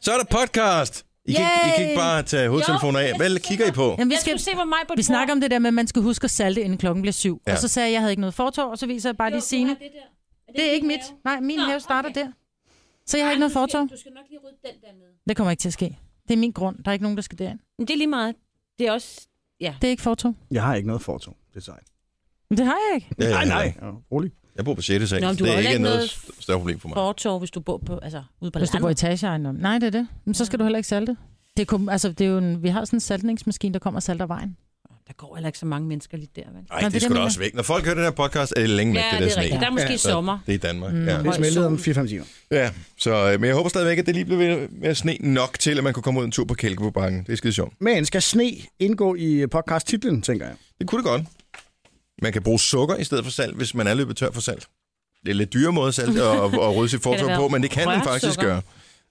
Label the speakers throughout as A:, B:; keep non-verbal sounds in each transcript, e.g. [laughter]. A: Så er der podcast. I kan, ikke, I kan ikke bare tage hovedtelefoner af. Hvad kigger I på?
B: Jamen, vi
C: Jeg
B: skal,
C: skulle se, hvor mig på
B: vi snakker om det der med, at man skal huske at salte, inden klokken bliver syv.
A: Ja.
B: Ja. Og så sagde jeg, at jeg havde ikke noget fortov, og så viser jeg bare lige sine.
C: Det, der.
B: Det er ikke
C: din
B: mit.
C: have?
B: Nej, min
C: Nå,
B: have starter
C: okay.
B: der. Så jeg har ikke noget
C: Ej, du skal-
B: fortov.
C: Du skal nok lige rydde den der med.
B: Det kommer ikke til at ske. Det er min grund. Der er ikke nogen, der skal derind.
C: Men det er lige meget. Det er også...
B: Det er ikke fortov.
D: Jeg har ikke noget fortog. Det er sejt.
B: Men Det har jeg ikke.
A: Ja, ja,
D: Nej,
A: ja.
D: nej. Ja, rolig.
A: Jeg bor på 6. sal.
C: Nå, men du
A: det
C: har
A: er
C: heller
A: ikke
C: ikke
A: noget
C: noget
A: st- større problem for mig.
C: Fortov, hvis du bor på, altså, ude på
B: Hvis du bor i
C: landet.
B: etageejendom. Nej, det er det. Men så skal du heller ikke salte. Det er, kun, altså, det er jo en, vi har sådan en saltningsmaskine, der kommer og salter vejen.
C: Der går heller ikke så mange mennesker lige der,
A: Nej,
C: vel?
B: Nå,
A: det,
B: det er
A: det skulle
B: det,
A: da
B: jeg
A: også væk. Når folk hører den her podcast, er det længe væk,
C: Ja,
A: det
C: det
A: der
C: er
A: sne.
C: rigtigt. Der er måske
A: så
C: sommer.
A: Det er i Danmark, mm. ja.
D: Det er smeltet om 4-5 timer.
A: ja. Så, øh, men jeg håber stadigvæk, at det lige blev ved med at sne nok til, at man kunne komme ud en tur på Kælkeborgbanken. Det er skide sjovt.
D: Men skal sne indgå i podcast-titlen, tænker jeg?
A: Det kunne det godt. Man kan bruge sukker i stedet for salt, hvis man er løbet tør for salt. Det er lidt dyre måde salt og,
C: [laughs]
A: og, og rydde sit fortog
C: være
A: på, men det kan man faktisk
C: rørsukker?
A: gøre.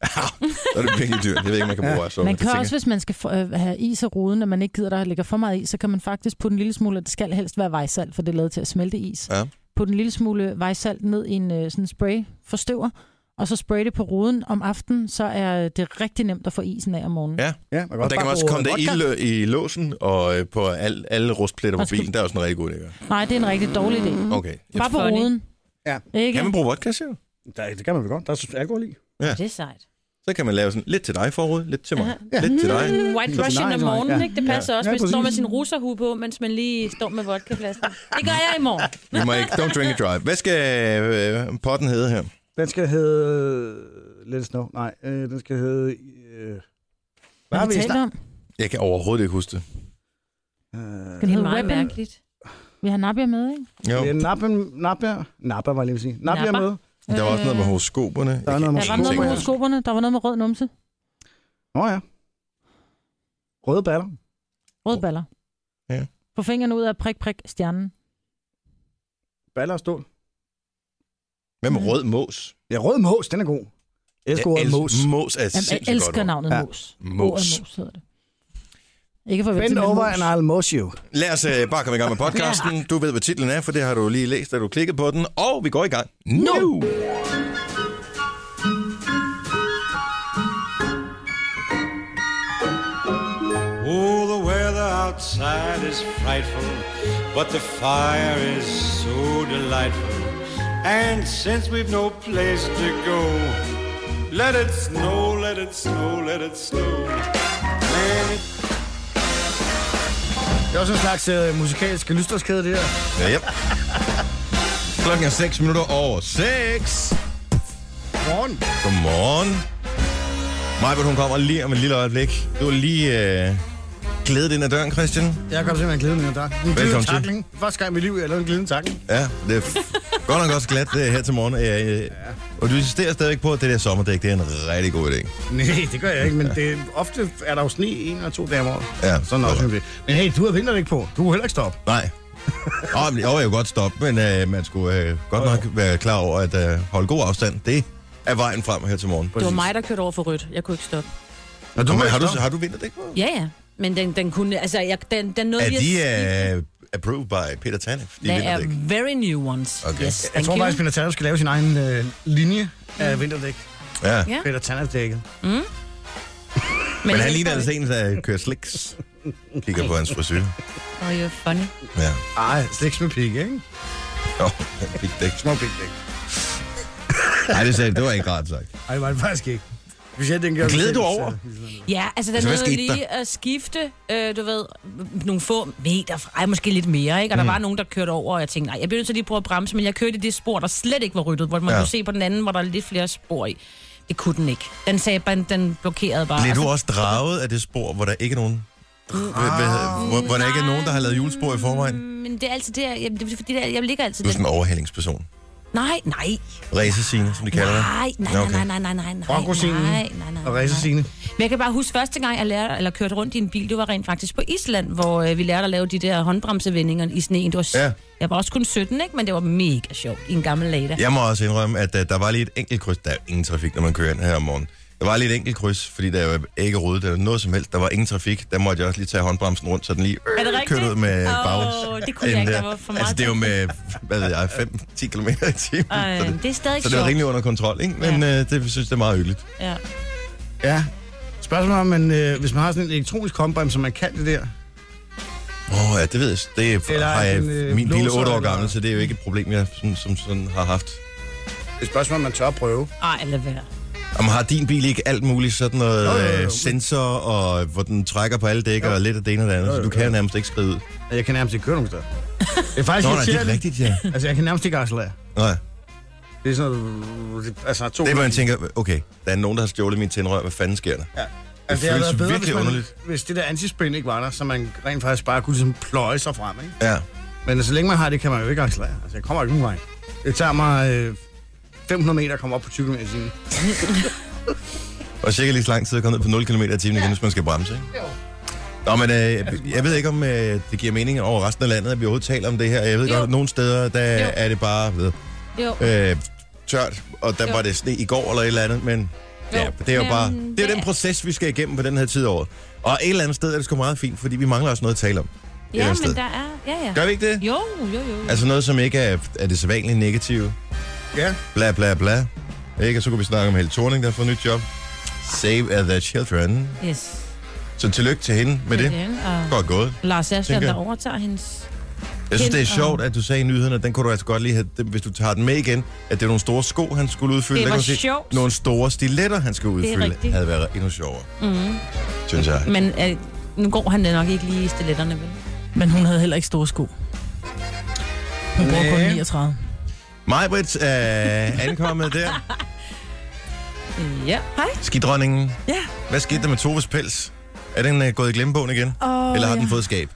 A: [laughs] så er det virkelig dyrt. Jeg ved ikke, om man kan bruge rørsukker.
B: Man
A: Det
B: kan
A: tænker
B: også, hvis man skal få- øh, have is og ruden, og man ikke gider, der ligger for meget is, så kan man faktisk putte en lille smule, og det skal helst være vejsalt, for det er lavet til at smelte is.
A: Ja.
B: Putte en lille smule vejsalt ned i en øh, sådan spray for støver, og så spray det på ruden om aftenen, så er det rigtig nemt at få isen af om morgenen.
A: Ja.
D: Ja, man kan
A: Og der kan man
D: bare
A: også
D: bruge
A: komme der
D: vodka.
A: ild i låsen og øh, på al, alle rustpletter på
B: Og skal-
A: bilen. Der er også en rigtig god idé. ikke?
B: Nej, det er en rigtig dårlig idé.
A: Okay.
B: Bare på
C: Funny.
B: ruden.
D: Ja.
B: Ikke?
A: Kan man bruge vodka, siger du?
D: Der, det kan man vel godt. Der er alkohol i.
C: Det er sejt.
A: Så kan man lave sådan lidt til dig forud, lidt til mig, lidt til dig.
C: White
D: Så
C: Russian
D: nej,
C: om
D: nej,
C: morgenen,
D: ja.
C: ikke? Det passer
D: Ja.
C: også,
D: Ja,
C: hvis man står med
D: præcis.
C: sin russerhue på, mens man lige står med vodkaflasken. Det gør jeg i morgen.
A: Vi må ikke, don't drink and drive. Hvad skal øh, potten hedde her?
D: Den skal hedde... Let it snow. Nej, øh, den skal hedde... Øh, hvad har
B: Hvad
D: vi
B: vi
D: snakket
B: talt om?
A: Jeg kan overhovedet ikke huske det.
B: Den
C: Det er
B: hedder
C: meget
B: Webben.
C: mærkeligt.
B: Vi har Nabia med, ikke?
A: Jo,
D: Øh, Det er Nappa, Nappa, Nappa var jeg lige ved at sige. Nappa er
C: Nappa.
D: med.
A: der var også noget med horoskoperne.
D: Der er noget med
B: Der var noget med
D: Tænker jeg.
B: horoskoperne. Der var noget med rød numse.
D: Nå ja. Røde baller.
B: Røde baller.
A: Ja.
B: Få fingrene ud af prik, prik, stjernen.
D: Baller og stål.
A: Hvad med rød mås?
D: Ja, rød mås, den er god. Jeg elsker ordet
A: elsker-
D: mås.
A: Mås er et
B: Jamen, jeg
A: sindssygt godt
B: elsker
A: ord.
B: navnet
D: Ja.
B: ja. Mos.
A: Mos.
B: Ordet Mos hedder det. Ikke for
D: Bend
B: venstre, men
D: over
B: mos.
D: and I'll mos you.
A: Lad os øh, bare komme i gang med podcasten. Du ved, hvad titlen er, for det har du lige læst, da du klikkede på den. Og vi går i gang nu! nu.
E: Oh, the weather outside is frightful, but the fire is so delightful. And since we've no place to go, let it snow, let it snow, let it snow. Let it
D: Det er også en slags uh, musikalsk lysterskæde, det her.
A: Ja, yep. Klokken er 6 minutter over 6.
D: Morgen.
A: Godmorgen. Majbert, hun kommer lige om et lille øjeblik. Du er lige øh, glædet ind ad døren, Christian.
D: Jeg kom simpelthen glidende i dag. En
A: Velkommen
D: glidende
A: til.
D: takling. Første gang i mit liv, jeg lavede en glidende takling.
A: Ja, det er f- godt nok også glat øh, her til morgen. Øh, øh. Og du insisterer stadigvæk på, at det der sommerdæk, det er en rigtig god idé.
D: Nej, det gør jeg ikke, men det, [laughs] ofte er der jo sne en eller to dage om året.
A: Ja,
D: Sådan også det. Men hey, du har vinterdæk på. Du kunne heller ikke stoppe.
A: Nej. Åh, men, jo, jeg kunne godt stoppe, men øh, man skulle øh, godt nok være klar over at øh, holde god afstand. Det er vejen frem her til morgen.
C: Det var mig, der kørte over for rødt. Jeg kunne ikke stoppe.
D: Nå,
A: Du,
D: må
A: men,
D: ikke
A: har, du,
D: stoppe.
A: har du vinterdæk på?
C: Ja, ja. Men den, den kunne... Altså, jeg, den, den nåede
A: Er
C: lige at-
A: de øh, approved by Peter Tanef? De
C: They are
A: vinterdæk.
C: very new ones.
A: Okay.
C: Yes,
D: Jeg
C: thank
D: tror
C: you.
D: faktisk, Peter Tanner skal lave sin egen øh, linje af vinterdæk.
A: Ja.
C: Mm. Ja.
D: Peter Tanner-dækket.
A: Men han ligner altså en, der kører sliks. Kigger på hans frisyr.
C: Oh, you're funny.
A: Ja.
D: Ej, sliks med pigge, ikke?
A: Jo, han fik det ikke.
D: Små pigdæk.
A: Nej, det, sagde, det var ikke rart sagt.
D: Ej, det var det faktisk ikke. Specielt den gør...
A: Glæder du over?
D: øh,
C: Ja, altså den
A: Altså, hvad
C: nåede
A: skete
C: lige at skifte, øh, du ved, nogle få meter fra, ej, måske lidt mere, ikke? Og
A: Mm.
C: der var nogen, der kørte over, og jeg tænkte, nej, jeg bliver nødt til lige at prøve at bremse, men jeg kørte i det spor, der slet ikke var ryddet, hvor man
A: Ja.
C: ja. kunne se på den anden, hvor der er lidt flere spor i. Det kunne den ikke. Den sagde bare, den blokerede bare.
A: Bliver
C: Altså, og
A: du
C: så-
A: også draget af det spor, hvor der ikke er nogen... Hvad- hvad- Hvor, hvor der ikke er nogen, der har lavet julespor i forvejen?
C: mm, Men det er altid der, jeg, det er fordi, der, jeg ligger altid
A: Du er sådan
C: den.
A: en overhældingsperson.
C: Nej, nej,
A: Ræsesine, som de kalder det.
C: nej, nej,
A: Nå,
C: nej,
A: okay.
C: nej, nej, nej, nej, nej,
D: Rockosinen
C: nej, nej, nej,
D: og
C: nej.
D: Racesine.
C: Men jeg kan bare huske, første gang jeg lærte, eller kørte rundt i en bil, det var rent faktisk på Island, hvor øh, vi lærte at lave de der håndbremsevendinger i sneen. Det var, s-
A: Ja.
C: Jeg var også kun 17, ikke? men det var mega sjovt i en gammel Lada.
A: Jeg må også indrømme, at uh, der var lige et enkelt kryds. Der er ingen trafik, når man kører ind her om morgenen. Der var lige et enkelt kryds, fordi der var ikke ryddet eller noget som helst. Der var ingen trafik. Der måtte jeg også lige tage håndbremsen rundt, så den lige
C: Er det
A: øh,
C: rigtigt?
A: kørte ud med
C: Åh,
A: bag.
C: det kunne jeg ikke. Der var for meget
A: altså, det er jo med, hvad ved jeg, 5-10 km i timen.
C: Ej, øh, det er stadig
A: Så det var
C: sjovt.
A: rimelig under kontrol, ikke? Men øh, det synes jeg er meget hyggeligt.
C: Ja.
D: Ja. Spørgsmålet er, om man, øh, hvis man har sådan en elektronisk kombrem, som man kan det der.
A: Åh, oh, ja, det ved jeg. Det er,
D: Eller
A: har jeg,
D: en, øh,
A: min lille
D: låser,
A: 8 år
D: eller-
A: gammel, så det er jo ikke et problem, jeg sådan, som sådan har haft.
D: Det er et spørgsmål, om man tør at prøve.
C: Ej, lad være.
A: Jamen, har din bil ikke alt muligt sådan noget
D: Jo, jo, jo,
A: øh,
D: jo.
A: sensor, og hvor den trækker på alle dækker, og lidt af det ene og det andet, så du kan jo nærmest ikke skride ud.
D: Jeg kan nærmest ikke køre nogen steder. Det er faktisk
A: Nå, nej,
D: Nå,
A: det er
D: irriterende.
A: rigtigt, ja.
D: altså, jeg kan nærmest ikke accelerere.
A: Nå, ja.
D: Det er sådan noget... Altså, to...
A: Det er, hvor man tænker, okay, der er nogen, der har stjålet min tændrør, hvad fanden sker der?
D: altså, havde
A: føles
D: været bedre,
A: virkelig
D: hvis, man,
A: underligt.
D: hvis det der antispin ikke var der, så man rent faktisk bare kunne ligesom pløje sig frem, ikke?
A: Ja,
D: Men altså, så længe man har det, kan man jo ikke accelerere. Altså, jeg kommer ikke nogen vej. Det tager mig øh, 500 meter at komme op på 20 km i timen.
A: og cirka lige så lang tid at komme ned på 0 km i timen igen, hvis man skal bremse, ikke? Nå, men øh, jeg ved ikke, om øh, det giver mening over resten af landet, at vi overhovedet taler om det her. Jeg ved
C: Jo.
A: godt, at nogle steder, der
C: Jo.
A: er det bare ved,
C: Jo.
A: øh, tørt, og der
C: Jo.
A: var det sne i går eller et eller andet, men ja, det er jo
C: men
A: bare, det er jo
C: det
A: den
C: er-
A: proces, vi skal igennem på den her tid af året. Og et eller andet sted er det sgu meget fint, fordi vi mangler også noget at tale om. et eller
C: Ja,
A: andet sted.
C: men der er... Ja, ja.
A: Gør vi ikke det?
C: Jo, jo, jo.
A: Altså noget, som ikke er, er det sædvanlige negative.
D: Ja.
A: Bla, bla, bla. Ikke? Og så kunne vi snakke om Helle Thorning, der har fået nyt job. Save the children.
C: Yes.
A: Så tillykke til hende med det.
C: Og
A: Godt gået.
C: Lars Asbjørn,
A: Tænker jeg.
C: der overtager hendes...
A: Jeg synes, det er
C: Kendt, og-
A: sjovt, at du sagde i nyhederne, at den kunne du altså godt lige have, den- hvis du tager den med igen, at det er nogle store sko, han skulle udfylde.
C: Det
A: Der
C: var
A: kan man sige,
C: sjovt.
A: Nogle store stiletter, han skulle
C: er
A: udfylde,
C: rigtigt.
A: havde været endnu sjovere. Mm.
B: Mhm.
A: Synes jeg.
C: Men øh, nu går han nok ikke lige i stiletterne, vel?
B: Men hun havde heller ikke store sko. Hun brugte kun
D: Næh.
B: 39.
A: Majbrit er ankommet der.
B: [laughs]
C: Øh, Ja. Hej.
A: Skidronningen.
B: Ja.
A: Hvad skete der med Toves pels? Er den uh, gået i glemmebogen igen?
B: Oh,
A: Eller har
B: ja.
A: den fået skab?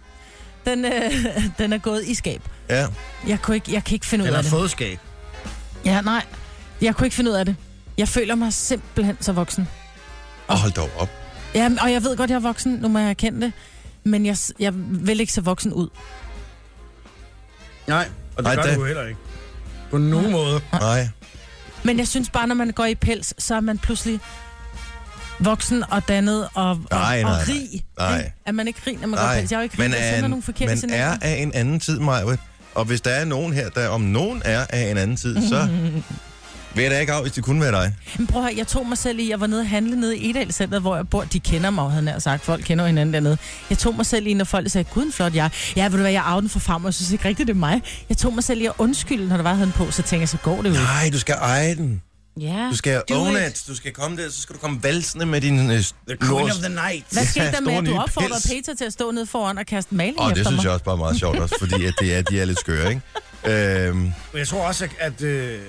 B: Den, øh, [laughs] den er gået i skab.
A: Ja.
B: Jeg, kunne ikke, jeg kan ikke finde ud
D: Eller
B: af det.
D: fodskab.
B: Ja, nej. Jeg kunne ikke finde ud af det. Jeg føler mig simpelthen så voksen.
A: Og hold dog op.
B: Ja, og jeg ved godt, jeg er voksen, nu må jeg erkende det. Men jeg, s- jeg vil ikke se voksen ud.
D: Nej, og det
A: Nej,
D: Ej, gør
A: det-
D: det. du heller ikke. På nogen måde.
A: Nej.
B: Men jeg synes bare, når man går i pels, så er man pludselig voksen og dannet og, og,
A: Nej, nej,
B: og
A: nej.
B: rig.
A: Nej.
B: ikke? Er man ikke rig, når man går i
A: Nej.
B: pels? Jeg er jo ikke rig,
A: Man
B: jeg
A: er
B: sender
A: en-
B: nogle forkerte
A: man
B: signaler.
A: er af en anden tid, Majbrit. Og hvis der er nogen her, der om nogen er af en anden tid,
B: [laughs]
A: så vil jeg da ikke af, hvis det kunne være dig.
B: Men prøv at høre, jeg tog mig selv i, jeg var nede og handle nede i Edal Center, hvor jeg bor. De kender mig, havde jeg nær sagt. Folk kender jo hinanden dernede. Jeg tog mig selv i, når folk sagde, gud en flot jeg. Ja, ved du hvad, jeg er den for frem, og jeg synes ikke rigtigt, det er mig. Jeg tog mig selv i at undskylde, når der var havde den på, så tænker jeg, så går det jo ikke.
A: Nej, du skal eje den.
C: Ja.
A: Du
D: Ah,
A: skal
C: Do
A: own
C: it.
A: it. Du skal komme der, så skal du komme valsende med din... Øh,
D: The queen
A: lort.
D: of the night.
B: Hvad skete
A: Ja,
B: der med,
A: store
B: at du
A: nye
B: opfordrede
A: pels.
B: Peter til at stå nede foran og kaste maling
A: Åh,
B: efter
A: det synes
B: mig?
A: jeg også bare er meget sjovt også, fordi at det er, de er lidt skøre, ikke? Øhm,
D: Men jeg tror også, at... at øh,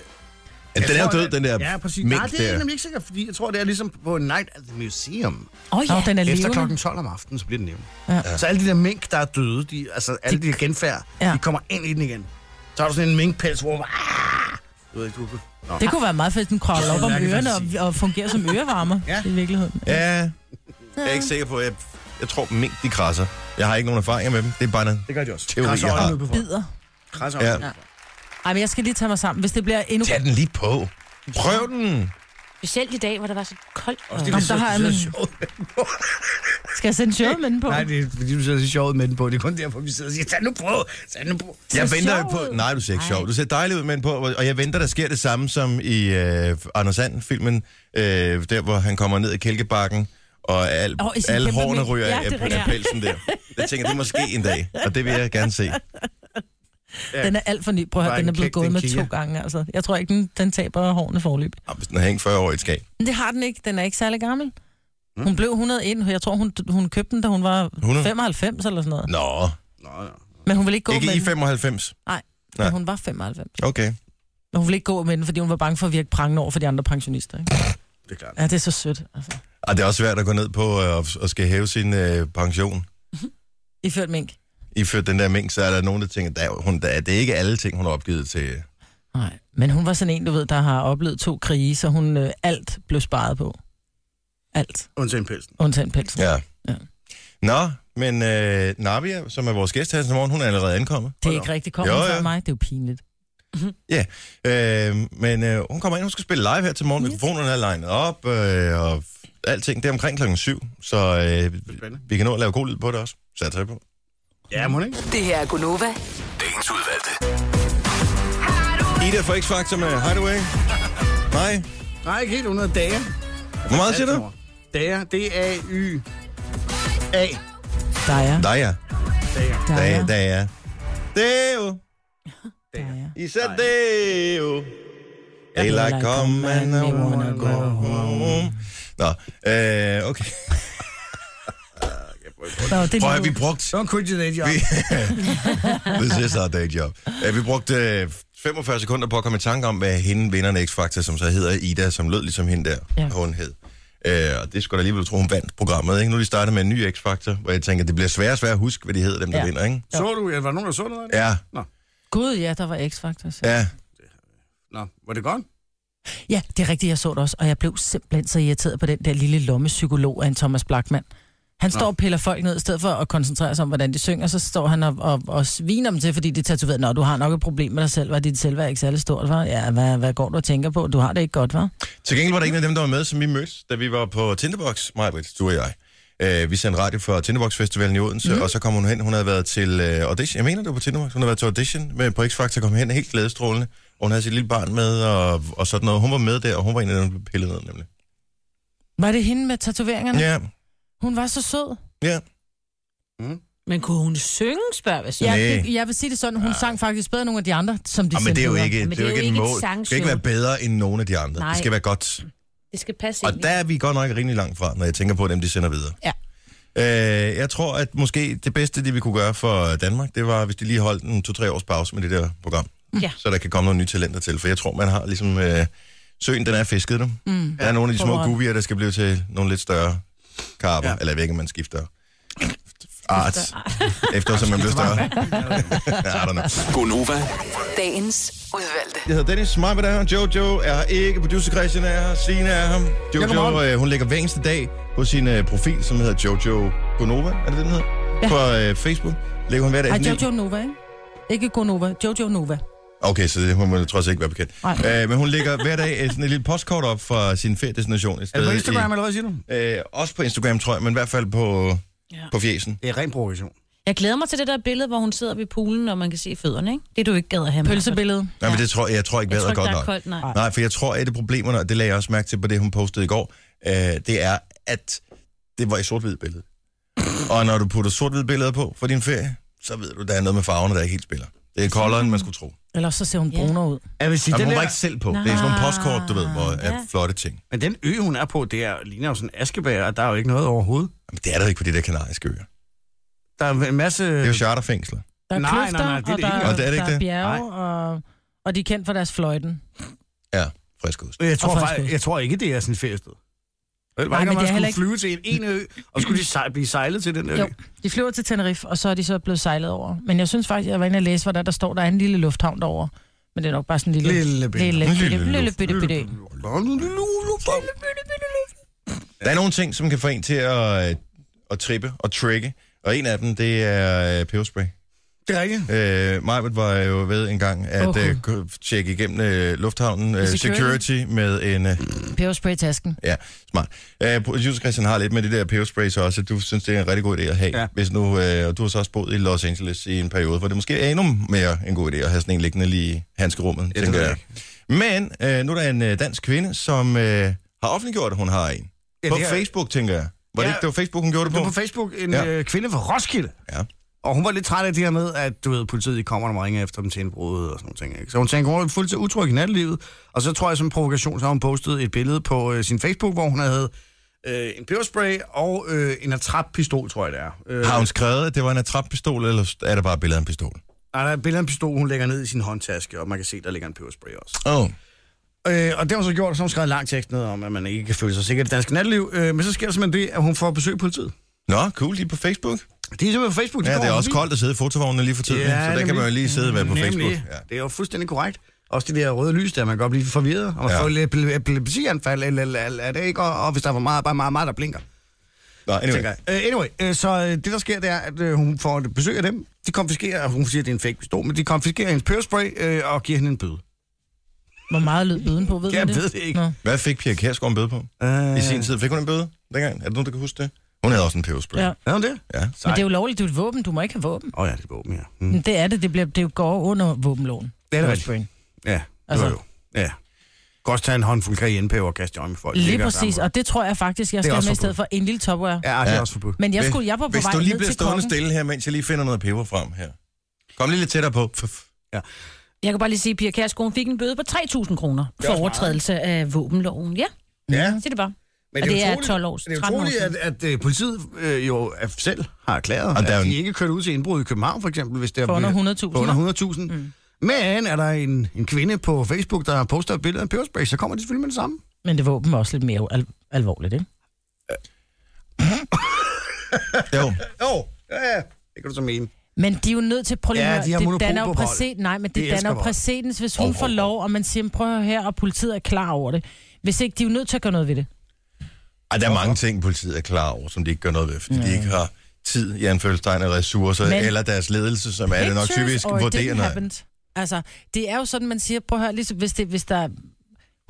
A: at
D: jeg
A: den er jo
D: tror,
A: død,
D: at-
A: den der
D: Ja, præcis.
A: mink
D: Nej, det er jeg
A: der.
D: nemlig ikke sikkert, fordi jeg tror, det er ligesom på en night at the museum.
C: Åh, oh,
B: Nå, den er
D: Efter
B: levende.
D: klokken 12 om aftenen, så bliver den hjemme.
B: Ja.
D: Ja. Så alle de der mink, der er døde, de, altså alle de, der genfærd,
B: Ja.
D: ja. de kommer ind i den igen. Så har du sådan en minkpels, hvor... Ah! Du ved ikke, du kunne... Nå.
B: Det kunne være meget fedt, at den kravler op om ørerne og, og fungerer som ørevarmer ja.
D: Ja.
B: i virkeligheden.
A: Ja, jeg er ikke sikker på. Jeg, jeg tror, mink, de krasser. Jeg har ikke nogen erfaringer med dem. Det er bare noget.
D: Det gør de også.
A: Teori,
D: Krasser
A: jeg har.
D: øjnene ud på folk.
B: Bider.
D: Krasser
A: Ja.
D: øjnene ud på folk.
B: Ej, men jeg skal lige tage mig sammen. Hvis det bliver endnu...
A: Tag den lige på. Prøv den.
C: Specielt i dag, hvor der var så koldt. Og...
D: Fordi
B: Nå,
D: du
B: der har jeg
D: sidder
B: min-
D: sjovt med den på.
B: Skal jeg sende showet med den på?
D: Nej, det er fordi, du sidder så sjovt med den på. Det er kun derfor, vi sidder og siger, tag nu på, tag nu på.
A: Jeg
B: Så
A: venter jo
B: sjov
A: på...
B: ud.
A: Nej, du ser ikke
C: Ej.
A: sjov. Du ser dejlig ud med den på, og jeg venter, der sker det samme som i øh, Anders Sand-filmen, øh, der hvor han kommer ned i kælkebakken, og al,
B: Åh, i sin
A: alle
B: kæmpe
A: hårene
B: mink.
A: ryger
B: Ja,
A: af,
B: det er
A: af, af pelsen der. Jeg tænker, det er måske en dag, og det vil jeg gerne se.
B: Den er alt for ny. Prøv at høre,
D: Bare
B: den
D: en
B: er blevet
D: kæk,
B: gået
D: den
B: med
D: kigger.
B: to gange. Altså. Jeg tror ikke, den, den taber hårene forløb.
A: Og hvis den har hængt 40 år i et skab.
B: Men det har den ikke. Den er ikke særlig gammel. Hun blev 101. Jeg tror, hun, hun købte den, da hun var
A: 100?
B: 95 eller sådan noget.
A: Nå,
D: Nå, ja.
B: Men hun ville ikke gå
A: ikke
B: med
A: i
B: den,
A: 95. nej.
B: da hun var 95.
A: Okay.
B: Men hun ville ikke gå med den, fordi hun var bange for at virke prangende over for de andre pensionister. Ikke?
D: det er klart.
B: Ja, det er så sødt. Altså.
A: Og det er også svært at gå ned på øh, og, og skal hæve sin øh, pension.
B: I ført mink.
A: Iført den der mængde, så er der nogen, der tænker, der, hun, der, det er ikke alle ting, hun har opgivet til.
B: Nej, men hun var sådan en, du ved, der har oplevet to krige, så hun øh, alt blev sparet på. Alt,
D: Undtagen pelsen.
B: undtagen pelsen.
A: Ja.
B: Ja.
A: Nå, men øh, Navia, som er vores gæst her i morgen, hun er allerede ankommet.
B: Det er ikke rigtigt kommet
A: Jo,
B: fra
A: ja.
B: mig, det er jo pinligt.
A: Ja, øh, men øh, hun kommer ind, hun skal spille live her til morgen. Mikrofonerne er lined op, øh, og alting. Det er omkring klokken syv, så øh,
D: Spændende.
A: vi kan nå at lave god lyd på det også. Sat sig på.
D: Ja, må den ikke?
F: Det her er Gunova.
A: Ida fra X-Factor med Hideaway. Nej.
D: Nej, ikke helt 100 dage.
A: Hvor meget siger du?
D: Dager. D-A-Y-A.
B: Daja.
A: Der er jeg.
D: Dager.
A: Der
B: Daja.
A: er, der er. Det er jo.
B: Daja.
A: I said det er jo. Eller kom man og wanna go home. Nå, øh, okay.
B: Nå, det
A: Prøv at
B: er
A: høre, vi
B: lige...
A: brugte
D: Så quit your day job.
A: This is our day job. Uh, vi brugte øh, 45 sekunder på at komme i tanke om, hvad hende vinderen af X-Factor, som så hedder Ida, som lød ligesom hende der,
B: Ja.
A: ja. hun hed. Øh, og det skulle da alligevel tro, hun vandt programmet. Ikke? Nu er de startet med en ny X-Factor, hvor jeg tænker, det bliver sværere og sværere at huske, hvad de hedder, dem der
B: Ja.
A: ja. vinder. Ikke?
D: [laughs] Så du, ja, var der nogen, der så noget af det?
A: Ja,
B: Gud, ja, der var X-Factor. Ja.
A: ja.
D: Nå, var det godt?
B: ja, det er rigtigt, jeg så det også, og jeg blev simpelthen så irriteret på den der lille lommepsykolog af en Thomas Blackman. Han står og piller folk ned, i stedet for at koncentrere sig om, hvordan de synger, så står han og, og, og sviner dem til, fordi de er tatoveret. Nå, du har nok et problem med dig selv, var dit selv er ikke særlig stort, var? Ja, hvad, hvad går du og tænker på? Du har det ikke godt, var?
A: Til gengæld var der en af dem, der var med, som vi mødte, da vi var på Tinderbox, Majbrit, du og jeg. Øh, vi sendte radio for Tinderbox Festivalen i Odense, mm. og så kom hun hen. Hun havde været til øh, audition. Jeg mener, det var på Tinderbox. Hun havde været til audition med, på X-Factor, kom hen helt glædestrålende. Og hun havde sit lille barn med og, og sådan noget. Hun var med der, og hun var en af dem, der blev pillet ned, nemlig.
B: Var det hende med tatoveringerne?
A: Ja,
B: Hun var så sød.
A: ja.
C: Men kunne hun synge, spørger jeg så?
B: Ja,
A: Næ.
B: det, jeg vil sige det sådan, hun sang faktisk bedre end nogle af de andre, som de
A: Og, Ah, men det er jo
B: videre.
A: ikke,
C: Men
A: det er jo ikke et
C: et
A: mål. Det skal ikke være bedre end nogen af de andre. Nej.
C: Nej.
A: Det skal være godt.
C: Det skal passe
A: Og
C: ind i-
A: der er vi godt nok rimelig langt fra, når jeg tænker på dem, de sender videre.
B: Ja.
A: Øh, jeg tror, at måske det bedste, de vi kunne gøre for Danmark, det var, hvis de lige holdt en to-tre års pause med det der program.
C: Ja.
A: Så der kan komme nogle nye talenter til. For jeg tror, man har ligesom... Øh, søen, den er fisket, du. Mm. Der er nogle af de små
B: Forhånd.
A: gubier, der skal blive til nogle lidt større karper. Ja.
D: Ja.
A: Eller jeg ved ikke, om man skifter art, eftersom man bliver [laughs] større. I don't know.
F: Gonova,
G: Dagens udvalgte.
A: Jeg hedder Dennis, mig er her, Jojo er her ikke, producer Christian er her, Signe er her. Jojo, øh, hun lægger hver eneste dag på sin øh, profil, som hedder Jojo Gonova, er det det, den hedder? Ja. På øh, Facebook lægger hun hver dag...
B: Ej,
A: et nyt-
B: Jojo Nova, ikke? Ikke Gonova, Jojo Nova.
A: Okay, så det, hun må trods alt ikke være bekendt.
B: Nej.
A: Øh, men hun lægger hver dag øh, sådan et lille postkort op fra sin feriedestination. Et
D: Er
A: sted
D: det på Instagram, eller hvad siger du?
A: I, øh, også på Instagram, tror jeg, men i hvert fald på, ja. på fjesen.
D: Det er ren provokation.
C: Jeg glæder mig til det der billede, hvor hun sidder ved poolen, og man kan se fødderne, ikke? Det er du ikke gad at have med.
B: Pølsebillede.
A: Nej, men det tror jeg, jeg tror ikke,
C: Jeg
A: vejret
C: tror
A: er
C: ikke,
A: godt
C: der er
A: nok.
C: koldt, nej.
A: Nej, for jeg tror, at et af problemerne, og det lagde jeg også mærke til på det, hun postede i går, øh, det er, at det var i sort-hvid billede. Og når du putter sort-hvid billeder på for din ferie, så ved du, der er noget med farverne, der ikke helt spiller. Det er koldere, end man skulle tro.
B: Eller så ser hun
C: Ja.
B: brunere ud.
D: Jeg vil sige,
A: Jamen,
D: den
A: hun var
D: der,
A: ikke selv på. Det er sådan nogle postkort, du ved, hvor er
C: Ja.
A: flotte ting.
D: men den ø, hun er på, det er, ligner jo sådan en askebær, og der er jo ikke noget overhovedet.
A: Jamen, det er der ikke på de der kanariske øer.
D: Der er en masse...
A: Det er jo charterfængsler.
B: Der er
D: Nej, nej,
B: kløfter,
D: nej, det er det
B: og der,
D: ikke.
A: Og det er det ikke
B: der er
A: det?
B: bjerge, og, og de er kendt for deres fløjten.
A: Ja, frisk ost.
D: Jeg
B: Og
D: tror,
B: frisk
D: faktisk,
B: ost.
D: jeg tror ikke, det er sådan et feriested. Det var
B: men
D: ikke, om
B: det er
D: man
B: heller
D: skulle
B: ikke-
D: flyve til en ene ø, og skulle de sej, blive sejlet til den ø.
B: Jo, de flyver til Tenerife, og så er de så blevet sejlet over. Men jeg synes faktisk, jeg var inde og læse, hvor der, der står, der er en lille lufthavn derovre. Men det er nok bare sådan en lille...
D: Lille bitte.
B: Lille,
A: Lille
B: bitte, lille,
A: luft-
B: bitte, bitte.
A: Der er nogle ting, som kan få en til at, øh, at trippe og trigge. Og en af dem, det er øh, peberspray.
D: Det er rigtigt.
A: Øh, Majbert var jo ved en gang at
B: Åh,
A: oh.
B: Gud.
A: øh, gå- tjekke igennem øh, lufthavnen øh,
B: Security.
A: security. security med en... Øh,
B: Peberspray i tasken.
A: ja, smart. Øh, producer Christian har lidt med det der peberspray så også, at du synes, det er en rigtig god idé at have.
D: Ja.
A: Ja. Hvis nu, øh, og du har så også boet i Los Angeles i en periode, hvor det måske er endnu mere en god idé at have sådan en liggende lige i handskerummet,
D: det
A: ja, tænker
D: ved
A: jeg. Men øh, nu er der en øh, dansk kvinde, som øh, har offentliggjort, at hun har en.
D: Ja,
A: på
D: det er-
A: Facebook, tænker jeg. Var det
D: Ja.
A: ikke, det var Facebook, hun gjorde det
D: Det
A: på?
D: var på Facebook en
A: Ja.
D: ja. kvinde fra Roskilde.
A: Ja.
D: Og hun var lidt træt af det her med, at du ved, politiet kommer, når man ringer efter dem til en brud og sådan noget. ting. ikke? Så hun tænkte, hun var fuldt til utryg i nattelivet. Og så tror jeg, som en provokation, så har hun postet et billede på øh, sin Facebook, hvor hun havde øh, en peberspray og øh, en attrappistol, tror jeg det er. Øh,
A: Har hun skrevet, at det var en attrappistol, eller er det bare et billede af en pistol?
D: Nej, der er et billede af en pistol, hun lægger ned i sin håndtaske, og man kan se, der ligger en peberspray også.
A: Åh. Oh.
D: Øh, og det har hun så gjort, og så har hun skrevet en lang tekst ned om, at man ikke kan føle sig sikker i det danske natteliv. Øh, men så sker der simpelthen det, at hun får besøg af politiet.
A: Nå, cool, de er på Facebook.
D: De er simpelthen på Facebook. de
A: Ja,
D: går
A: det er
D: over
A: også
D: forbi.
A: koldt at sidde i fotovognene lige for tiden, ja, så der kan man jo lige sidde og være på
D: nemlig.
A: Facebook. Ja.
D: Ja. Det er jo fuldstændig korrekt. Også det der røde lys der, man kan godt blive forvirret, og man
A: Ja.
D: ja. får lidt epile- epilepsianfald, eller, eller, eller er det ikke, og, og hvis der er for meget, bare meget, meget, der blinker,
A: Nå, anyway.
D: tænker jeg. Uh, anyway, øh, så øh, det der sker, det er, at øh, hun får et besøg af dem, de konfiskerer, og hun siger, at det er en fake pistol, men de konfiskerer hendes peberspray øh, og giver hende en bøde.
B: Hvor meget lød lyden på, ved
D: Jeg
B: man det?
D: ved det ikke.
B: Nå.
A: Hvad fik Pia Kjærsgaard en bøde på?
D: Øh,
A: I sin tid fik hun en bøde dengang? Er der nogen, der kan huske det? Hun havde også en peberspray.
B: Ja.
A: Ja.
D: Er hun det?
A: ja.
B: Men det er jo lovligt, du er et våben. Du må ikke have våben.
D: Åh oh, ja, det er våben, ja. Mm.
B: Men det er det. Det, bliver, det går under våbenloven.
D: Det er det rigtigt.
B: Pebersprayen.
D: Ja, det
B: Altså-
D: altså... var jo. Ja. kan også tage en håndfuld cayenne og kaste i øjnene på folk.
B: Lige
D: Det er
B: præcis,
D: der
B: og det tror jeg faktisk, jeg skal
D: også
B: have med i
D: forbudt.
B: stedet for en lille topware.
D: samme. Ja, det er
A: Ja.
D: også forbudt.
B: Men jeg, skulle, jeg var på
A: Hvis
B: vej
A: du lige
B: ned
A: bliver
B: til
A: stående
B: kokken.
A: stille her, mens jeg lige finder noget peber frem her. Kom lige lidt tættere på. Fuf.
C: Jeg kan bare lige sige, at Pia Kærsgaard fik en bøde på 3.000 kroner for overtrædelse af våbenloven. Ja,
D: Ja,
C: sig det bare.
D: men
C: Og det er 12 år,
D: Det er
C: 13 år
D: utroligt, at,
C: siden.
D: at, at politiet øh, jo er- selv har erklæret,
A: Og der er
D: at
A: jo
D: de
A: en-
D: ikke kørt ud til indbrud i København, for eksempel, hvis det er
B: For under
D: blevet-
B: 100.000,
D: for under 100.000. Mm. Men er der en, en kvinde på Facebook, der poster et billede af en peberspray, så kommer de selvfølgelig med det samme.
B: Men det våben var også lidt mere al- alvorligt, ikke?
A: Jo.
D: [laughs] Jo, ja, ja. Det kan du så mene.
B: Men de er jo nødt til, prøv lige
D: Ja,
B: at høre,
D: de har
B: det
D: monopol
B: danner
D: på
B: jo
D: vold.
B: præcedens, nej, men
D: De
B: det danner
D: elsker
B: jo
D: vold.
B: præcedens, hvis hun får lov, og man siger, prøv at høre her, og politiet er klar over det. Hvis ikke, de er jo nødt til at gøre noget ved det.
A: Ej, der er mange ting, politiet er klar over, som de ikke gør noget ved, fordi de ikke har tid, i anfølgelsestegn og ressourcer,
B: Men-
A: eller deres ledelse, som er det nok
B: Pictures
A: typisk
B: or it didn't
A: vurderende.
B: happened. Altså, det er jo sådan, man siger, prøv at høre, ligesom, hvis, det, hvis der,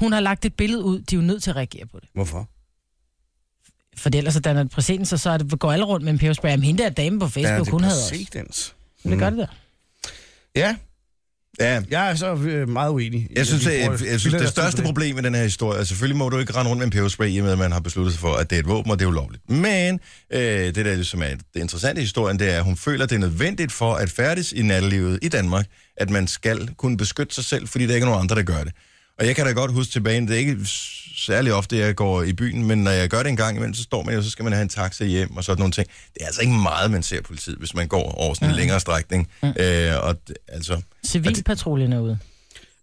B: hun har lagt et billede ud, de er jo nødt til at reagere på det.
D: Hvorfor?
B: For ellers så danner det præcedens, og så er det, går alle rundt med en peberspray. Jamen, hende der dame på Facebook, ja, hun havde også.
D: præcedens.
B: Men det gør det der.
D: Ja,
A: Ja,
D: jeg er så øh, meget uenig.
A: jeg synes,
D: de
A: jeg,
D: bruger-
A: jeg, jeg
D: fylder
A: synes det
D: deres tid på
A: største problem med den her historie, altså selvfølgelig må du ikke rende rundt med en peberspray, i og med at man har besluttet sig for, at det er et våben, og det er ulovligt. Men øh, det, der ligesom er det interessante i historien, det er, at hun føler, det er nødvendigt for at færdes i nattelivet i Danmark, at man skal kunne beskytte sig selv, fordi der ikke er nogen andre, der gør det. Og jeg kan da godt huske tilbage, det er ikke særlig ofte, jeg går i byen, men når jeg gør det en gang imellem, så står man jo, så skal man have en taxa hjem og sådan nogle ting. Det er altså ikke meget, man ser politiet, hvis man går over sådan en længere strækning. Øh, og d- altså,
B: Civilpatruljen er ude.
A: men,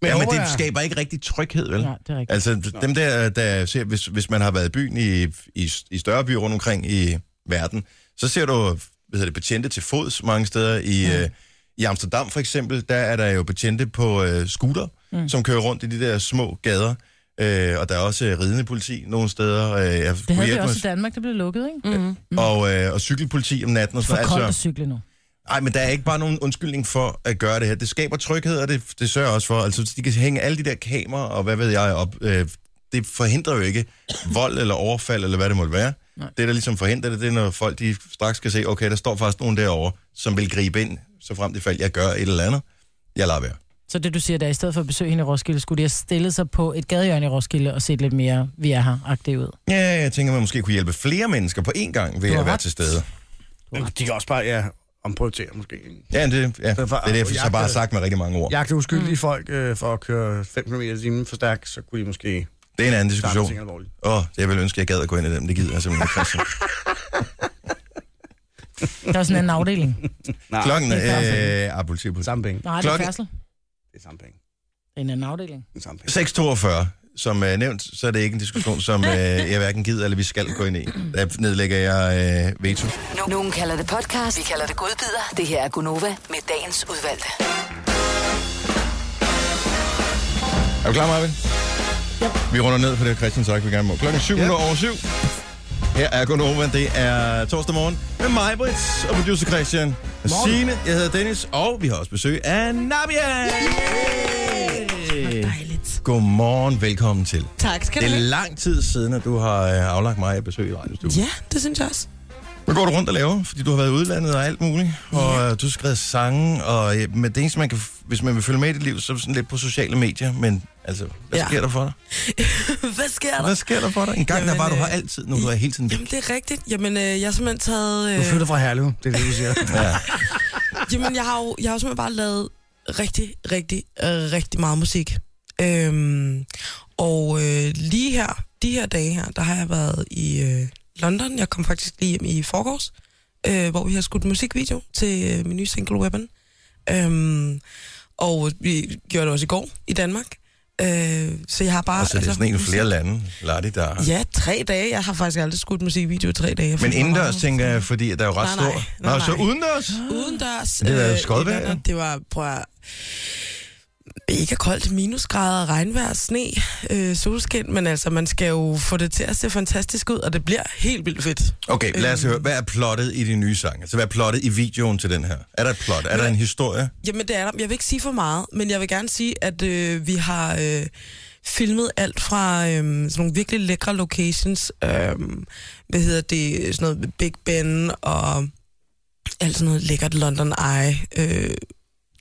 A: ja,
D: jeg
A: men
D: håber,
A: det
D: jeg-
A: skaber ikke rigtig tryghed, vel?
B: Nej, det er rigtigt.
A: Altså, dem der, der ser, hvis, hvis man har været i byen i, i, i større byer rundt omkring i verden, så ser du hvad hedder det, betjente til fods mange steder. I, mm. øh, I Amsterdam for eksempel, der er der jo betjente på øh, scooter, mm. som kører rundt i de der små gader. Øh, og der er også øh, ridende politi nogle steder. Øh, jeg
B: Det
A: kunne
B: havde vi
A: hjælpe
B: også i
A: mig-
B: Danmark, der blev lukket, ikke? Mm.
A: og, øh, og cykelpoliti om natten og
B: For
A: sådan noget.
B: koldt at
A: Altså,
B: cykle nu.
A: ej, men der er ikke bare nogen undskyldning for at gøre det her. Det skaber tryghed, og det, det sørger også for. Altså, de kan hænge alle de der kameraer, og hvad ved jeg, op. Øh, det forhindrer jo ikke vold eller overfald, eller hvad det måtte være. Nej. Det, der ligesom forhindrer det, det er, når folk de straks kan se, okay, der står faktisk nogen derovre, som vil gribe ind, så frem til fald, jeg gør et eller andet. Jeg lader være.
B: Så det du siger, der i stedet for at besøge hende i Roskilde, skulle de have stillet sig på et gadehjørne i Roskilde og set lidt mere, vi er her, agtigt ud.
A: Ja, jeg tænker, man måske kunne hjælpe flere mennesker på én gang ved
B: Du har
A: at være
B: ret.
A: til stede.
D: Men De kan også bare, ja, omprioritere måske. ikke?
A: Ja, det, ja. det
D: for-
A: er det, jeg så bare sagt med rigtig mange ord.
D: Jagte uskyldige mm. folk øh, for at køre 5 km i timen for stærkt, så kunne de måske...
A: Det er en anden
D: Der er
A: diskussion.
D: ting alvorligt.
A: Åh, oh, jeg vil ønske, at jeg gad at gå ind i dem. Det gider jeg simpelthen ikke, Christian.
B: Der er sådan en afdeling.
D: Nej,
A: Klokken
B: det er
A: er... Øh, ah, politi, politi.
D: samme penge. Det
B: Nej, det er
A: Klokken-
B: færdsel.
D: er samme penge.
B: Det er en anden afdeling.
D: Det er samme penge.
A: 6.42, som er nævnt, så er det ikke en diskussion, som øh, jeg hverken gider eller vi skal gå ind i. Der nedlægger jeg øh, veto.
G: No- Nogen kalder det podcast, vi kalder det godbider. Det her er Gunova med dagens udvalgte.
A: Er du klar, Marvin? Ja. Vi runder ned på det, Christian sagt, vi gerne må. Klokken 7
D: Ja.
A: ja. over 7. Her er Gunova, det er torsdag morgen med mig, Brits, og producer Christian. Og Signe, jeg hedder Dennis, og vi har også besøg af Nabia.
C: Dejligt.
A: Godmorgen, velkommen til.
F: Tak skal
A: Det
F: du
A: er
F: have.
A: lang tid siden, at du har øh, aflagt mig at besøge i radiostudiet.
F: Ja, det synes jeg også.
A: Hvad går du rundt og laver? Fordi du har været i udlandet og alt muligt, og øh, du har skrevet sange, og øh, men det eneste, man kan, f- hvis man vil følge med i dit liv, så er det sådan lidt på sociale medier, men altså, hvad ja.
F: Ja.
A: sker der for dig?
F: [laughs] Hvad sker der?
A: Hvad sker der for dig? En gang
F: Jamen,
A: der var du
F: øh,
A: her altid, nu er du her hele tiden væk.
F: Jamen, det er rigtigt. Jamen, øh, jeg har simpelthen taget...
D: Du
F: Øh,
D: flytter fra Herlev, det er det, du siger.
A: [laughs] Ja.
F: jamen, jeg har, jo, jeg har jo simpelthen bare lavet rigtig, rigtig, øh, rigtig meget musik. Øhm, og øh, lige her, de her dage her, der har jeg været i øh, London. Jeg kom faktisk lige hjem i forgårs, øh, hvor vi har skudt en musikvideo til øh, min nye single Weapon. Øhm, og vi gjorde det også i går i Danmark. Øh, så jeg har bare... altså,
A: Og så er det sådan en i flere lande, Lottie, der har-
F: Ja, tre dage. Jeg har faktisk aldrig skudt musikvideo i tre dage. Jeg
A: Men
F: føler mig
A: indendørs,
F: meget-
A: tænker jeg, fordi der er jo ret
F: Nej, nej.
A: stor...
F: Nej,
A: Nå, så
F: nej.
A: udendørs?
F: Udendørs.
A: Det er
F: øh,
A: Skodberg,
F: i London, Det var, prøv at, mega koldt, minusgrader, regnvejr, sne, øh, solskin, men altså, man skal jo få det til at se fantastisk ud, og det bliver helt vildt fedt.
A: Okay, lad os
F: Øh.
A: høre. Hvad er plottet i de nye sange? Altså, hvad er plottet i videoen til den her? Er der et plot? Er der en historie?
F: Jamen, det er der. Jeg vil ikke sige for meget, men jeg vil gerne sige, at øh, vi har øh, filmet alt fra øh, sådan nogle virkelig lækre locations. Øh, hvad hedder det? Sådan noget Big Ben og alt sådan noget lækkert London Eye øh,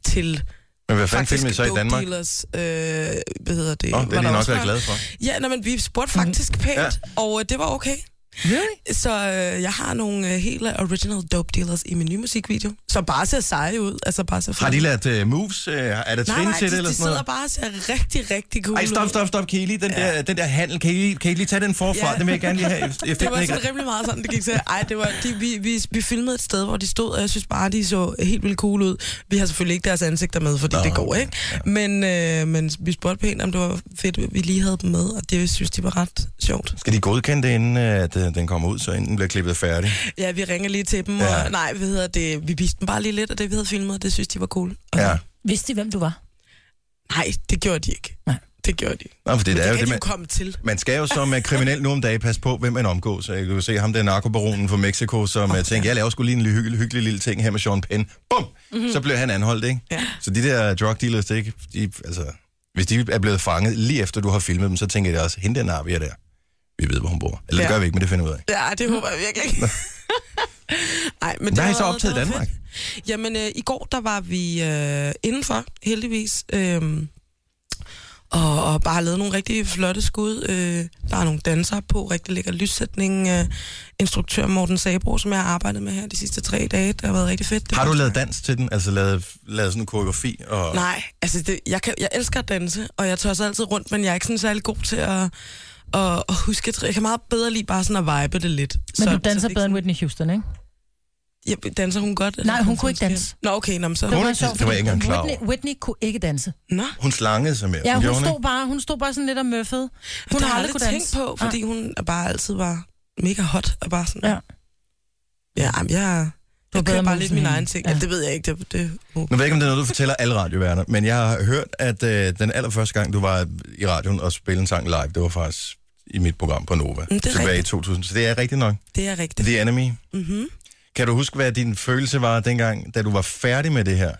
F: til
A: Men hvad fanden
F: Faktisk
A: filmede I så i
F: dope
A: Danmark? Åh,
F: Dealers, øh, hvad hedder det?
A: oh,
F: var
A: det er
F: der
A: de nok
F: også
A: været
F: fra.
A: glade for.
F: Ja, nej, men vi spurgte faktisk pænt,
A: Ja.
F: og øh, det var okay.
B: Really?
F: Så øh, jeg har nogle øh, hele original dope dealers i min nye musikvideo, som bare ser seje ud. Altså bare ser
A: Har de
F: fede ud.
A: lært uh, moves? Øh, er der
F: Nej,
A: trin
F: nej,
A: til det
F: de,
A: eller sådan
F: de sidder
A: noget?
F: bare og ser rigtig, rigtig cool
A: Ej, stop,
F: ud.
A: stop, stop. Kan I lige den, der, den der handel? Kan I, lige- kan I lige tage den forfra?
F: Ja.
A: Den vil jeg gerne lige
F: [laughs]
A: have. Jeg
F: Det
A: fik
F: var
A: den ikke.
F: sådan rimelig meget sådan, det gik til. Ej, det var, de, vi, vi, vi filmede et sted, hvor de stod, og jeg synes bare, de så helt vildt cool ud. Vi har selvfølgelig ikke deres ansigter med, fordi Nå, det går, ikke? Men, øh, men vi spurgte pænt, om det var fedt, at vi lige havde dem med, og det synes de var ret sjovt.
A: Skal de godkende det, inden øh, at øh, den kommer ud, så inden den bliver klippet færdig?
F: Ja, vi ringer lige til dem,
A: Ja.
F: ja. og nej, vi, hedder det, vi viste dem bare lige lidt af det, vi havde filmet, og det synes de var cool. Og
A: Ja.
B: Vidste de, hvem du var?
F: Nej, det gjorde de ikke.
B: Nej.
F: Det gjorde de.
A: Nå, for det,
F: Det
A: er jo
F: kan
A: det,
F: de jo
A: man,
F: komme til.
A: man skal jo som øh, kriminel nu om dagen passe på, hvem man omgås. Øh, Du kan se ham, der narkobaronen fra Mexico, som oh, tænkte, jeg laver sgu lige en lille hyggelig, hyggelig lille ting her med Sean Penn. Bum! Mm-hmm. Så blev han anholdt, ikke?
F: Mhm. Ja.
A: Så de der drug dealers, det er ikke, de, altså, hvis de er blevet fanget lige efter, du har filmet dem, så tænker jeg også, hende der nar, vi er der. Vi ved, hvor hun bor. Eller ja.
F: Ja.
A: det gør vi ikke, men det finder vi ud af.
F: Ja, det håber jeg virkelig
A: [laughs]
F: ikke. Ej, men det
A: Hvad har I
F: var-
A: så optaget i
F: det var
A: Danmark?
F: fedt. Jamen, øh, i går der var vi øh, indenfor, heldigvis, øh, og, og bare lavet nogle rigtig flotte skud. Øh, der er nogle dansere på, rigtig lækker lyssætning. Øh, instruktør Morten Sabro, som jeg har arbejdet med her de sidste tre dage, det har været rigtig fedt. Det
A: Har du
F: var-
A: lavet dans til den? Altså lavet, lavet sådan en koreografi? Og...
F: Nej, altså det, jeg, kan, jeg elsker at danse, og jeg tør også altid rundt, men jeg er ikke sådan særlig god til at, at, at huske. Jeg kan meget bedre lide bare sådan at vibe det lidt.
B: Men
F: Så-
B: du
F: så det er
B: danser
F: ikke
B: bedre end Whitney Houston, ikke?
F: Ja, danser hun godt? eller
B: Nej, hun
F: hvordan
B: kunne ikke
F: skal-
B: danse.
F: Nå, okay, nå, men så...
A: Hun-
B: meget sjovt,
A: det var jeg ikke engang
B: fordi
A: klar over.
B: Whitney, Whitney kunne ikke danse.
F: Nå,
A: Hun slangede sig med.
B: Ja,
A: gjorde
B: hun stod, bare, hun stod bare sådan lidt og møffede. Hun
F: hun
B: har
F: har
B: aldrig
F: aldrig
B: kunne danse.
F: tænkt på, fordi hun er bare altid var mega hot og bare sådan...
B: Ah, Ja.
F: Ja, ja jamen, jeg...
B: var
F: Jeg
B: bedre
F: kører bare
B: mus
F: lidt
B: end
F: min
B: hende.
F: egen ting.
B: Ja.
F: Ja. Det ved jeg ikke. Det, det, uh.
A: Nu ved jeg ikke, om det er noget, du fortæller alle radioværter, men jeg har hørt, at øh, den allerførste gang, du var i radioen og spillede en sang live, det var faktisk i mit program på Nova.
F: Mm, det er
A: tilbage
F: rigtigt.
A: i 2000. Så det er rigtigt nok.
F: det er rigtigt.
A: The Enemy. Mm-hmm. Kan du huske, hvad din følelse var dengang, da du var færdig med det her?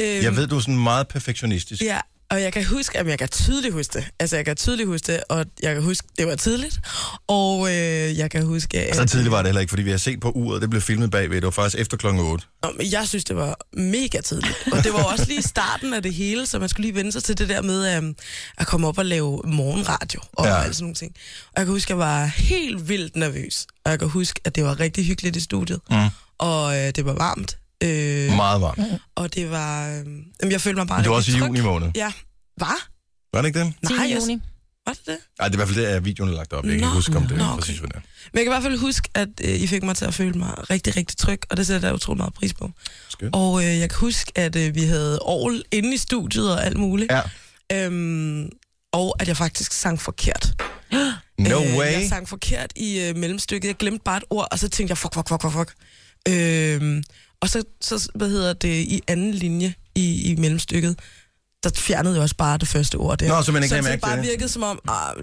F: Øhm,
A: Jeg ved, du er sådan meget perfektionistisk.
F: Ja, og jeg kan huske, at jeg kan tydeligt huske det. Altså, jeg kan tydeligt huske det, og jeg kan huske, det var tidligt. Og øh, jeg kan huske... At,
A: Så tidligt var det heller ikke, fordi vi har set på uret, det blev filmet bagved. Det var faktisk efter klokken 8.
F: Nå, men jeg synes, det var mega tidligt. Og det var også lige starten af det hele, så man skulle lige vende sig til det der med um, at komme op og lave morgenradio og
A: Ja.
F: ja. alt sådan nogle ting. Og jeg kan huske, at jeg var helt vildt nervøs. Og jeg kan huske, at det var rigtig hyggeligt i studiet. Mm. Og øh, det var varmt. Øh,
A: Meget varmt.
F: og det var... Øh, jamen, jeg følte mig bare...
A: Men det var også
F: rigtig
A: i
F: tryg.
A: juni måned.
F: Ja. Hvad?
A: Var det ikke det?
B: 10.
F: Nej, jeg-
B: juni.
F: Var det det?
A: Nej, det er i hvert fald det, at videoen er lagt op. Jeg kan ikke
F: Nå.
A: huske, om det
F: Nå,
A: er
F: okay.
A: præcis, hvad det er.
F: Men jeg kan i hvert fald huske, at øh, I fik mig til at føle mig rigtig, rigtig tryg, og det sætter jeg utrolig meget pris på.
A: Skønt.
F: Og øh, jeg kan huske, at øh, vi havde Aarhus inde i studiet og alt muligt.
A: Ja.
F: Øhm, og at jeg faktisk sang forkert.
A: No
F: Øh,
A: way.
F: Jeg sang forkert i øh, mellemstykket. Jeg glemte bare et ord, og så tænkte jeg, fuck, fuck, fuck, fuck, fuck. Øhm, og så, så, hvad hedder det, i anden linje i, i mellemstykket, der fjernede jeg også bare det første ord der.
A: Nå, så man ikke
F: så
A: lagde
F: det
A: mærke til
F: bare
A: det.
F: virkede som om, ah,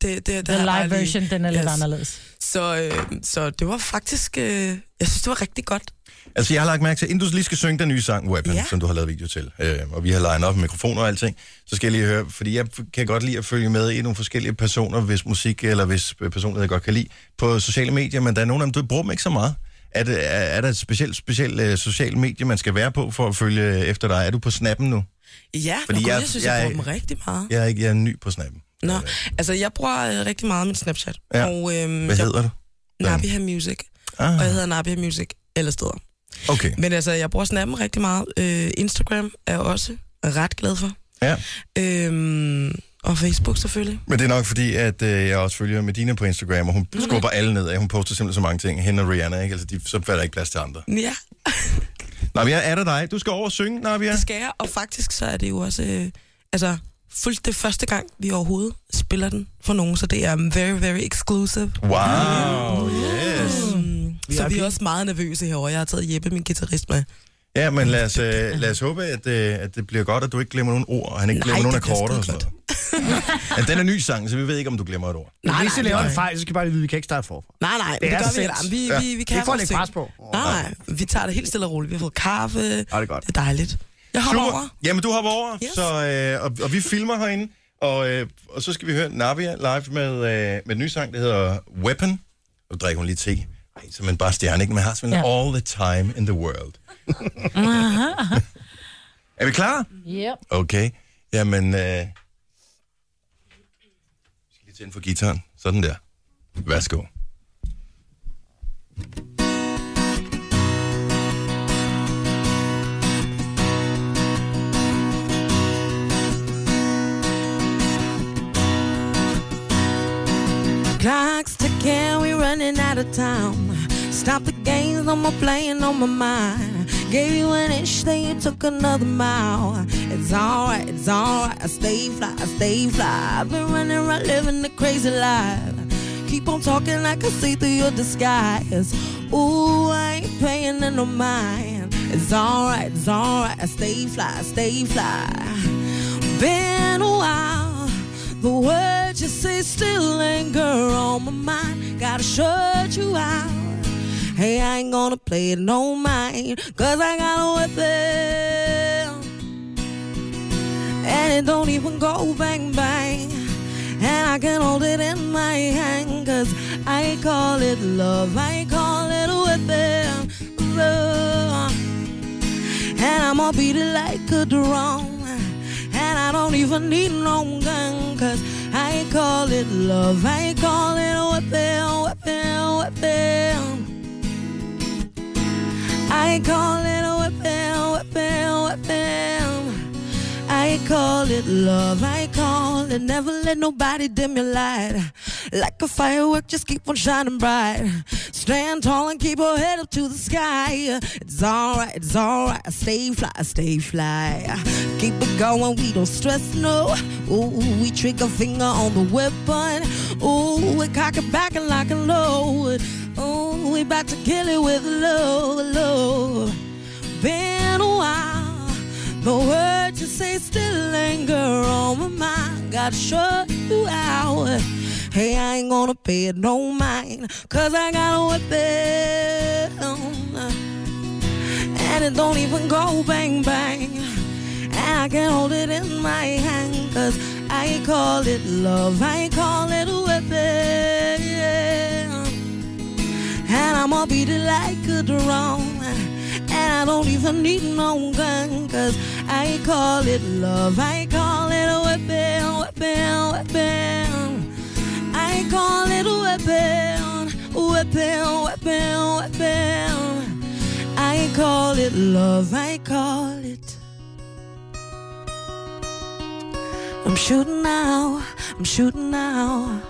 F: det, det, det
B: The
F: har jeg bare
B: live
F: lige-
B: version, den er lidt
F: Yes.
B: anderledes.
F: Så, øh, så det var faktisk, øh, jeg synes, det var rigtig godt.
A: Altså, jeg har lagt mærke til, inden du lige skal synge den nye sang, Weapon, ja.
F: Ja.
A: som du har lavet video til, øh, og vi har legnet op med mikrofoner og alting, så skal jeg lige høre, fordi jeg kan godt lide at følge med i nogle forskellige personer, hvis musik eller hvis øh, personlighed jeg godt kan lide, på sociale medier, men der er nogle af dem, du bruger dem ikke så meget. Er, det, er, er der et specielt speciel, øh, socialt medie, man skal være på for at følge øh, efter dig? Er du på snappen nu?
F: Ja,
A: Fordi
F: Fordi og jeg,
A: jeg-
F: jeg synes, jeg,
A: jeg-
F: jeg bruger dem rigtig meget.
A: Jeg er, ikke, jeg er ny på snappen.
F: Nå,
A: Øh,
F: altså jeg bruger øh, rigtig meget min Snapchat.
A: Ja.
F: Og øhm,
A: Hvad
F: jeg,
A: hedder du?
F: Nabiha Music. Og
D: Mm.
F: jeg
A: Ah,
F: hedder Nabiha Music alle steder.
A: okay.
F: Men altså, jeg bruger Snap'en rigtig meget. Øh, Instagram er jeg også ret glad for.
A: Ja.
F: Øhm, og Facebook selvfølgelig.
A: Men det er nok fordi, at øh, jeg også følger Medina på Instagram, og hun
F: Mm.
A: skubber alle ned af. Hun poster simpelthen så mange ting. Hende og Rihanna, ikke? Altså, de, så falder der ikke plads til andre.
F: Ja,
A: Nabia, er der dig? Du skal over og synge, Nabia.
F: det skal jeg. Og faktisk så er det jo også... Øh, altså, fuldt det første gang, vi overhovedet spiller den for nogen, så det er very, very exclusive.
A: Wow, yes.
F: Mm. Så vi er også meget nervøse herover. Jeg har taget Jeppe, min guitarist, med.
A: Ja, men lad os, øh, lad os håbe, at, øh, at det bliver godt, at du ikke glemmer nogen ord, og han ikke
F: Nej,
A: glemmer nogen
F: det bliver
A: akkorder og sådan noget. ja, den er ny sang, så vi ved ikke, om du glemmer et ord.
D: Nej, Hvis I
F: nej,
D: laver
F: nej.
D: en fejl, så skal I bare lige vide, at vi kan ikke starte forfra.
F: Nej, nej,
D: Det
F: det,
D: er
F: det gør
D: så
F: vi
D: sinds-
F: ikke. Vi,
A: Ja.
F: vi, vi
D: Det
F: kan
D: er ikke for at
F: vores
D: lægge
F: ting.
D: pres på.
F: Nej, nej, vi tager det helt stille og roligt. Vi har fået kaffe.
D: Ja, det er godt.
F: Det er dejligt. Jeg hopper over.
A: Jamen, du hopper over, yes.
F: Yes.
A: så, øh, og, og vi filmer herinde, og, øh, og så skal vi høre Nabia live med, øh, med en ny sang, der hedder Weapon. Og drikker hun lige te. Ej, så er
F: [laughs]
A: man bare stjerne, ikke? Man har simpelthen
B: Ja.
A: all the time in the world. Er vi klar?
C: Yep.
A: Okay. Jamen, øh... Jeg skal lige tænde for gitaren. Sådan der. Værsgo.
H: Clock's ticking, we running out of time. Stop the games, no more playing on my mind. Gave you an inch, then you took another mile. It's alright, it's alright. I stay fly, I stay fly. I've been running around, living the crazy life. Keep on talking, I can see through your disguise. Ooh, I ain't paying it no mind. It's alright, it's alright. I stay fly, I stay fly been a while. The words you say still linger on my mind. Gotta shut you out. Hey, I ain't gonna play it no mind. Cause I got a weapon. And it don't even go bang bang. And I can hold it in my hand. Cause I call it love. I call it a weapon. Love. And I'ma beat it like a drum. And I don't even need no gun, cause I call it love. I call it a weapon, weapon, weapon. I call it a weapon, weapon, weapon. I call it love. I call it never let nobody dim your light. Like a firework, just keep on shining bright. Stand tall and keep your head up to the sky. It's alright, it's alright. Stay fly, stay fly. Keep it going, we don't stress no. Ooh, we trigger finger on the weapon. Ooh, we cock it back and lock and load. Ooh, we about to kill it with low, low been a while. The words you say still linger on my mind. Gotta shut you out. Hey, I ain't gonna pay it no mind. Cause I got a weapon. And it don't even go bang bang. And I can hold it in my hand. Cause I call it love. I call it a weapon. And I'ma beat it like a drum. And I don't even need no gun, cause I call it love. I call it a weapon, weapon, weapon. I call it a weapon, weapon, weapon, weapon. I call it love, I call it. I'm shooting now, I'm shooting now.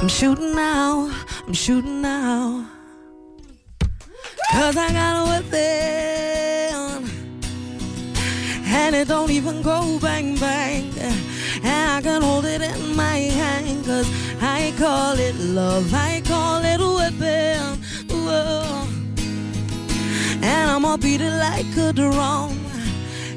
H: I'm shooting now, I'm shooting now. Cause I got a weapon. And it don't even go bang bang. And I can hold it in my hand. Cause I call it love. I call it a weapon. Whoa. And I'ma beat it like a drum.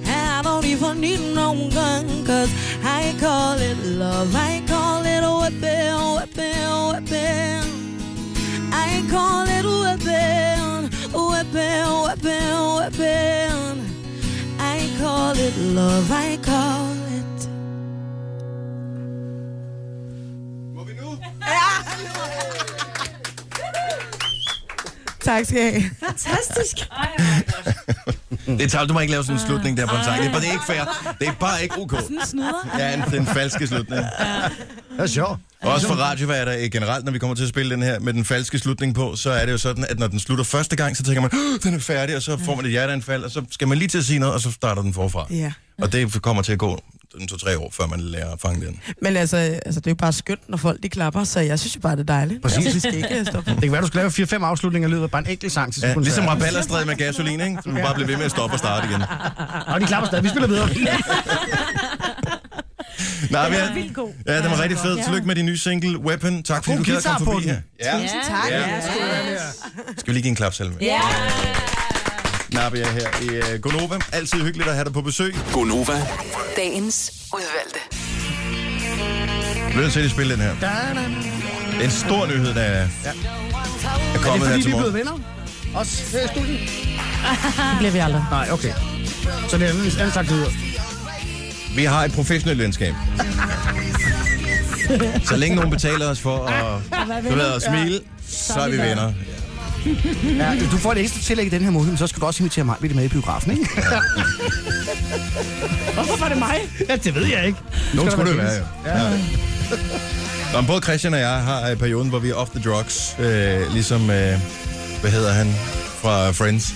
H: And I don't even need no gun. Cause I call it love. I call it a weapon, weapon, weapon. I call it a weapon, a weapon, weapon, weapon. I call it love, I call it. Tak skal I have.
A: Det tabte du må ikke lave sådan en slutning der på en sang. Det er, bare, det er ikke fair. Det er bare ikke [laughs] ok.
B: Den snyder.
A: Ja, en, den falske slutning.
D: Det er sjovt.
A: Også for radioværter øh, generelt, når vi kommer til at spille den her med den falske slutning på, så er det jo sådan, at når den slutter første gang, så tænker man, "Åh, den er færdig, og så får man et hjerteanfald, og så skal man lige til at sige noget, og så starter den forfra.
H: Ja.
A: Og det kommer til at gå en to-tre år, før man lærer at fange den.
H: Men altså, altså, det er jo bare skønt, når folk de klapper, så jeg synes jo bare, det er dejligt.
D: Præcis.
H: Jeg synes det ikke, jeg står på.
D: Det kan være, du skal lave 4-5 afslutninger i løbet af bare en enkelt sang til
A: Ja,
D: koncert.
A: ligesom rabalderstræde med gasolin, ikke? Så man bare bliver ved med at stoppe og starte igen.
D: Nå, de klapper stadig. Vi spiller videre.
A: Nej, vi
B: er vildt god.
A: Ja, den var rigtig fed. Tillykke med din nye single, Weapon. Tak fordi
D: God
A: du gad at
D: guitar
A: komme
D: på
A: forbi
D: den.
A: her. Ja.
C: tak.
A: Ja. Skal vi lige give en klapsalve? Ja. Nabia her i uh, Gonova. Altid hyggeligt at have dig på besøg.
I: Gonova.
G: Dagens udvalgte.
A: Vil du til at spille den her? En stor nyhed, der er, er
D: Er det
A: kommet her
D: fordi,
A: til
D: vi er blevet
A: morgen.
D: venner? Os her i studien?
B: Det bliver vi aldrig.
D: Nej, okay. Så det er en anden slags nyheder.
A: Vi har et professionelt venskab. Ah, Så længe nogen betaler os for at, du ved, at smile, så er vi venner.
D: Ja, du får et ekstra tillæg i den her måned, men så skal du også invitere mig med i biografen, ikke?
B: [laughs] Hvorfor var det mig?
D: ja, det ved jeg ikke.
A: Nogen skulle det
D: være
A: være, jo. Ja. Nå, men både Christian og jeg har øh, perioden, hvor vi er off the drugs. Øh, ligesom, øh, hvad hedder han fra Friends?